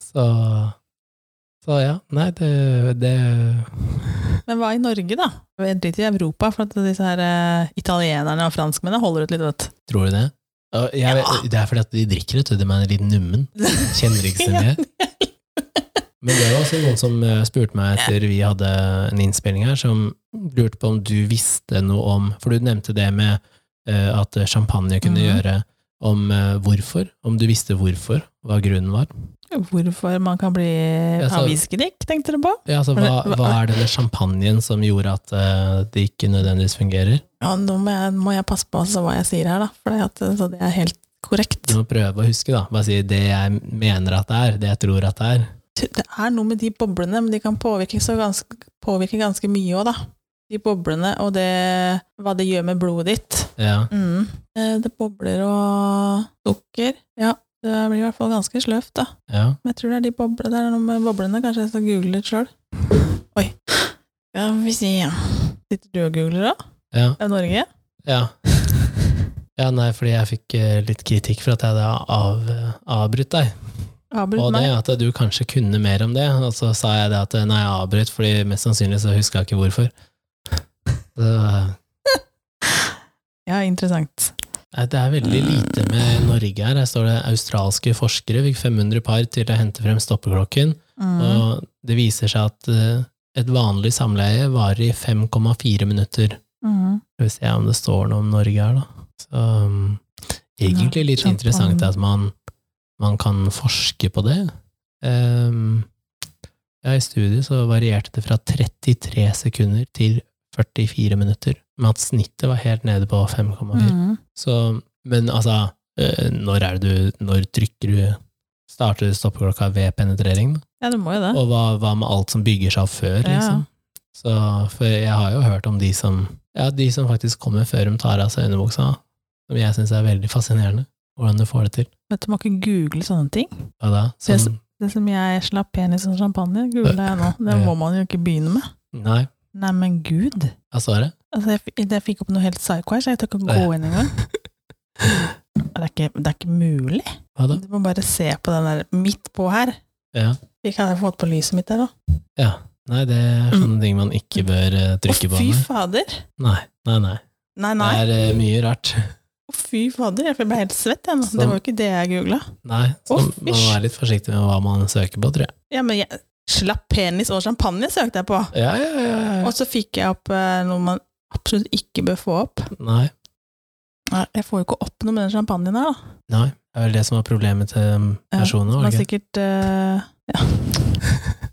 Speaker 1: Så, så ja, nei, det, det
Speaker 2: Men hva i Norge, da? Jeg driter i Europa, for at disse her eh, italienerne og franskmennene holder ut litt, vet du.
Speaker 1: Tror du det? Ja, Jeg,
Speaker 2: Ja.
Speaker 1: Det er fordi at de drikker, vet du. De er litt nummen. Kjenner ikke seg igjen. Men det var også noen som eh, spurte meg etter vi hadde en innspilling her, som lurte på om du visste noe om For du nevnte det med eh, at champagne kunne
Speaker 2: Mhm.
Speaker 1: gjøre om eh, hvorfor. Om du visste hvorfor, hva grunnen var.
Speaker 2: Hvorfor man kan bli
Speaker 1: sa-
Speaker 2: avisgedikk, tenkte du på?
Speaker 1: Ja, altså,
Speaker 2: Men
Speaker 1: hva,
Speaker 2: det- hva-
Speaker 1: hva er denne champagnen som gjorde at eh, det ikke nødvendigvis fungerer?
Speaker 2: Ja, nå må jeg, må jeg passe på altså, hva jeg sier her, da, for det, at, så det er helt korrekt.
Speaker 1: Du må prøve å huske, da. Bare si det jeg mener at det er, det jeg tror at det er.
Speaker 2: Det er noe med de boblene, men de kan påvirke, så ganske, påvirke ganske mye òg, da. De boblene og det, hva det gjør med blodet ditt.
Speaker 1: Ja.
Speaker 2: Mm. Eh, Det bobler og sukker. Ja, det blir i hvert fall ganske sløvt, da.
Speaker 1: ja.
Speaker 2: Men jeg tror det er de boble, det er noe med boblene. Kanskje jeg skal google litt sjøl. Oi. Ja, vi sier Sitter du og googler, da?
Speaker 1: ja.
Speaker 2: Det er Norge?
Speaker 1: Ja. Ja, nei, fordi jeg fikk eh, litt kritikk for at jeg hadde av, eh, avbrutt deg.
Speaker 2: Avbryt
Speaker 1: Og det
Speaker 2: meg.
Speaker 1: at du kanskje kunne mer om det, og så sa jeg det at eh, nei, jeg avbrøt, fordi mest sannsynlig så huska jeg ikke hvorfor. Så, eh,
Speaker 2: Ja, interessant.
Speaker 1: nei, det er veldig lite med Norge her. Her står det australske forskere fikk 500 par til å hente frem stoppeklokken,
Speaker 2: Mm.
Speaker 1: og det viser seg at eh, et vanlig samleie varer i 5,4 minutter.
Speaker 2: Mm.
Speaker 1: Skal vi se om det står noe om Norge her, da. Så um, egentlig litt
Speaker 2: Champagne.
Speaker 1: interessant at man, man kan forske på det. Um, ja, I studiet så varierte det fra 33 sekunder til 44 minutter, men at snittet var helt nede på 5,4.
Speaker 2: Mm.
Speaker 1: Så, men altså, eh, når er det du Når trykker du Starter du stoppeklokka ved penetrering? da?
Speaker 2: Ja, du må jo det.
Speaker 1: Og hva, hva med alt som bygger seg opp før,
Speaker 2: Ja.
Speaker 1: liksom? Så, for jeg har jo hørt om de som, ja, de som faktisk kommer før de tar av seg underbuksa, som jeg syns er veldig fascinerende, hvordan du får det til.
Speaker 2: Vet du, må ikke google sånne ting.
Speaker 1: Hva da?
Speaker 2: Det
Speaker 1: Sånn,
Speaker 2: Det som jeg slapp penis og champagne, googla jeg nå. Det
Speaker 1: Ja.
Speaker 2: må man jo ikke begynne med.
Speaker 1: nei,
Speaker 2: Nei, men gud.
Speaker 1: hva står det?
Speaker 2: Altså, jeg, f- jeg fikk opp noe helt psycho her, så jeg tør ikke gå inn engang. Det, er ikke- det er ikke mulig.
Speaker 1: Hva da?
Speaker 2: Du må bare se på den der midt på her.
Speaker 1: Ja.
Speaker 2: Vi kan få på lyset mitt der, da.
Speaker 1: Ja. Nei, det er sånne ting man ikke bør eh, trykke
Speaker 2: Å,
Speaker 1: på.
Speaker 2: fy
Speaker 1: Nei,
Speaker 2: fader!
Speaker 1: nei, nei. nei.
Speaker 2: Nei,
Speaker 1: Det
Speaker 2: nei.
Speaker 1: er eh, mye rart.
Speaker 2: Å, fy fader, jeg ble helt svett. Jeg. nå.
Speaker 1: Sånn.
Speaker 2: Det var jo ikke det jeg googla.
Speaker 1: Nei, så
Speaker 2: Å,
Speaker 1: man må
Speaker 2: fysj.
Speaker 1: være litt forsiktig med hva man søker på, tror jeg.
Speaker 2: Ja, men jeg, slapp penis og champagne søkte jeg på.
Speaker 1: Ja, ja, ja. ja,
Speaker 2: Og så fikk jeg opp eh, noe man absolutt ikke bør få opp.
Speaker 1: ja. Nei,
Speaker 2: Nei, Jeg får jo ikke opp noe med den champagnen her, da.
Speaker 1: nei. Det er vel det som var problemet til um,
Speaker 2: Ja,
Speaker 1: personen.
Speaker 2: Den
Speaker 1: var
Speaker 2: har
Speaker 1: det ikke?
Speaker 2: sikkert eh,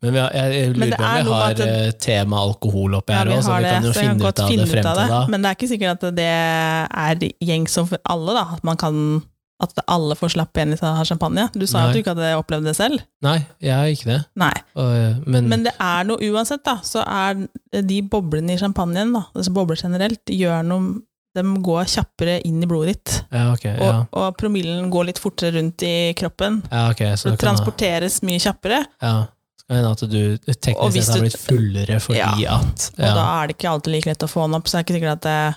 Speaker 1: Men vi har, jeg, jeg
Speaker 2: Men
Speaker 1: lurer
Speaker 2: det
Speaker 1: på om
Speaker 2: er
Speaker 1: vi
Speaker 2: noe med
Speaker 1: har
Speaker 2: at det-
Speaker 1: eh, tema alkohol oppi
Speaker 2: Ja,
Speaker 1: her
Speaker 2: vi
Speaker 1: òg, så
Speaker 2: har
Speaker 1: vi
Speaker 2: det,
Speaker 1: kan jo
Speaker 2: så jeg
Speaker 1: finne ut
Speaker 2: godt
Speaker 1: av
Speaker 2: finne
Speaker 1: det frem til da.
Speaker 2: Men det er ikke sikkert at det er gjengs som for alle, da. At man kan at alle får slapp penis og har champagne. Du sa jo
Speaker 1: Nei.
Speaker 2: at du ikke hadde opplevd det selv.
Speaker 1: Nei, jeg har ikke det.
Speaker 2: Nei.
Speaker 1: Og, eh, men,
Speaker 2: Men det er noe uansett, da. Så er de boblene i champagnen, da, altså bobler generelt, gjør noe De går kjappere inn i blodet ditt.
Speaker 1: ja, ok,
Speaker 2: Og,
Speaker 1: ja.
Speaker 2: og promillen går litt fortere rundt i kroppen.
Speaker 1: ja, ok, så
Speaker 2: Det
Speaker 1: det kan ha-
Speaker 2: transporteres mye kjappere,
Speaker 1: ja. Så kan hende at du
Speaker 2: Og
Speaker 1: teknisk
Speaker 2: hvis
Speaker 1: sett har
Speaker 2: du-
Speaker 1: blitt fullere fordi
Speaker 2: Ja.
Speaker 1: at
Speaker 2: og da
Speaker 1: ja,
Speaker 2: er det ikke alltid like lett å få den opp. Så det er ikke sikkert at det,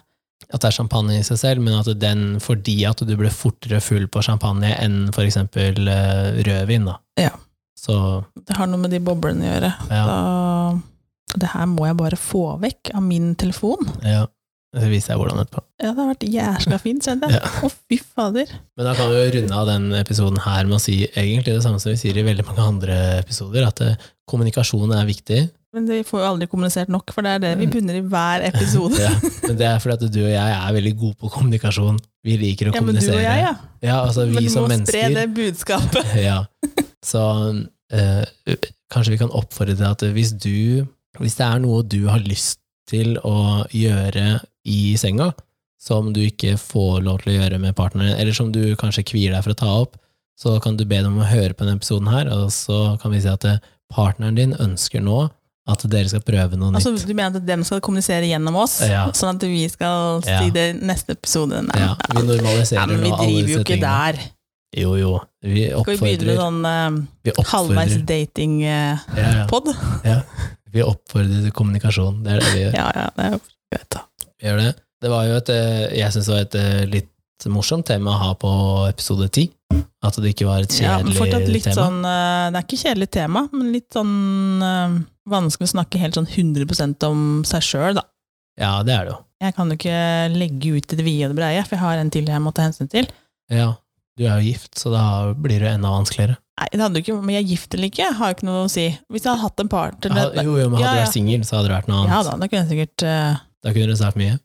Speaker 1: At det er champagne i seg selv, men at den fordi at du ble fortere full på champagne enn for eksempel eh, rødvin, da.
Speaker 2: Ja.
Speaker 1: Så
Speaker 2: det har noe med de boblene å gjøre.
Speaker 1: ja,
Speaker 2: Så det her må jeg bare få vekk av min telefon.
Speaker 1: ja. Det viser jeg hvordan etterpå.
Speaker 2: Ja, det har vært jæsla fint, skjønte jeg.
Speaker 1: Ja.
Speaker 2: Å, fy fader.
Speaker 1: Men da kan vi jo runde av den episoden her med å si egentlig det samme som vi sier i veldig mange andre episoder, at eh, kommunikasjon er viktig.
Speaker 2: Men vi får jo aldri kommunisert nok, for det er det vi bunner i hver episode.
Speaker 1: Mm. Ja, men det er fordi at du og jeg er veldig gode på kommunikasjon. Vi liker å
Speaker 2: Ja, men du
Speaker 1: kommunisere.
Speaker 2: og jeg, ja.
Speaker 1: Ja, altså vi
Speaker 2: men du
Speaker 1: som
Speaker 2: må spre
Speaker 1: mennesker.
Speaker 2: det budskapet.
Speaker 1: Ja. Så eh, kanskje vi kan oppfordre til at hvis du Hvis det er noe du har lyst til å gjøre i senga, som du ikke får lov til å gjøre med partneren, eller som du kanskje kvier deg for å ta opp, så kan du be dem om å høre på denne episoden her, og så kan vi si at eh, partneren din ønsker nå at dere skal prøve noe
Speaker 2: Altså,
Speaker 1: nytt.
Speaker 2: du mener at dem skal kommunisere gjennom oss,
Speaker 1: Ja.
Speaker 2: sånn at vi skal si
Speaker 1: Ja.
Speaker 2: det i neste episode? Nei,
Speaker 1: Ja, vi
Speaker 2: ja,
Speaker 1: normaliserer
Speaker 2: men vi
Speaker 1: nå alle
Speaker 2: driver jo
Speaker 1: disse tingene.
Speaker 2: ikke der.
Speaker 1: Jo, jo. Vi
Speaker 2: Skal vi begynne med
Speaker 1: oppfordrer,
Speaker 2: sånn eh,
Speaker 1: vi
Speaker 2: halvveis eh,
Speaker 1: oppfordrer,
Speaker 2: dating-pod?
Speaker 1: ja, ja. vi oppfordrer til kommunikasjon. Det er det vi gjør.
Speaker 2: Ja, ja, det er jo greit, da.
Speaker 1: Vi gjør det. Det var jo et, eh, jeg synes det var et eh, litt morsomt tema å ha på episode 10. At det ikke var et
Speaker 2: Ja, men
Speaker 1: kjedelig
Speaker 2: fortsatt litt
Speaker 1: tema.
Speaker 2: sånn eh, Det er ikke kjedelig tema, men litt sånn eh, vanskelig å snakke helt sånn 100 om seg sjøl, da.
Speaker 1: Ja, det er det jo.
Speaker 2: Jeg kan jo ikke legge ut i det vide og det breie, for jeg har en til jeg må ta hensyn til.
Speaker 1: Ja, du er jo gift, så da blir det enda vanskeligere.
Speaker 2: Nei, det hadde jo ikke, Men jeg er gift eller ikke, har jo ikke noe å si. Hvis jeg hadde hatt en partner
Speaker 1: Ja, jo, jo, men hadde
Speaker 2: Ja,
Speaker 1: du
Speaker 2: ja.
Speaker 1: vært singel, så hadde det vært noe
Speaker 2: Ja
Speaker 1: annet.
Speaker 2: da, da kunne jeg sikkert eh,
Speaker 1: Da kunne du sagt mye.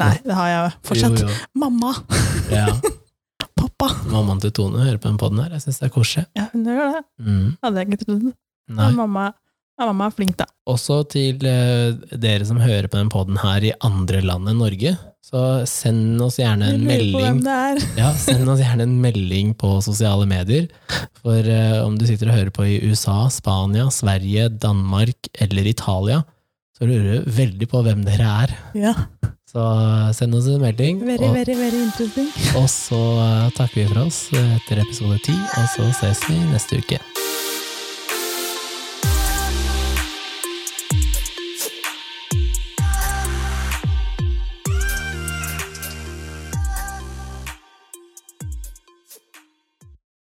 Speaker 2: Nei, det har jeg fortsatt.
Speaker 1: Jo, jo.
Speaker 2: Mamma!
Speaker 1: Ja.
Speaker 2: Pappa!
Speaker 1: Mammaen til Tone hører på den podden her. Jeg syns det er koselig.
Speaker 2: Ja, hun gjør det.
Speaker 1: Mm.
Speaker 2: Hadde jeg ikke trodd.
Speaker 1: Nei.
Speaker 2: Men Mamma, ja, mamma er flink, da.
Speaker 1: Også til eh, dere som hører på den podden her i andre land enn Norge, så send oss gjerne en
Speaker 2: Vi lurer på
Speaker 1: melding
Speaker 2: hvem det er.
Speaker 1: Ja, send oss gjerne en melding på sosiale medier. For eh, om du sitter og hører på i USA, Spania, Sverige, Danmark eller Italia, så lurer du veldig på hvem dere er.
Speaker 2: Ja.
Speaker 1: Så send oss en melding,
Speaker 2: Very,
Speaker 1: og,
Speaker 2: very, very interesting.
Speaker 1: og så eh, takker vi for oss etter episode ti, og så ses vi neste uke.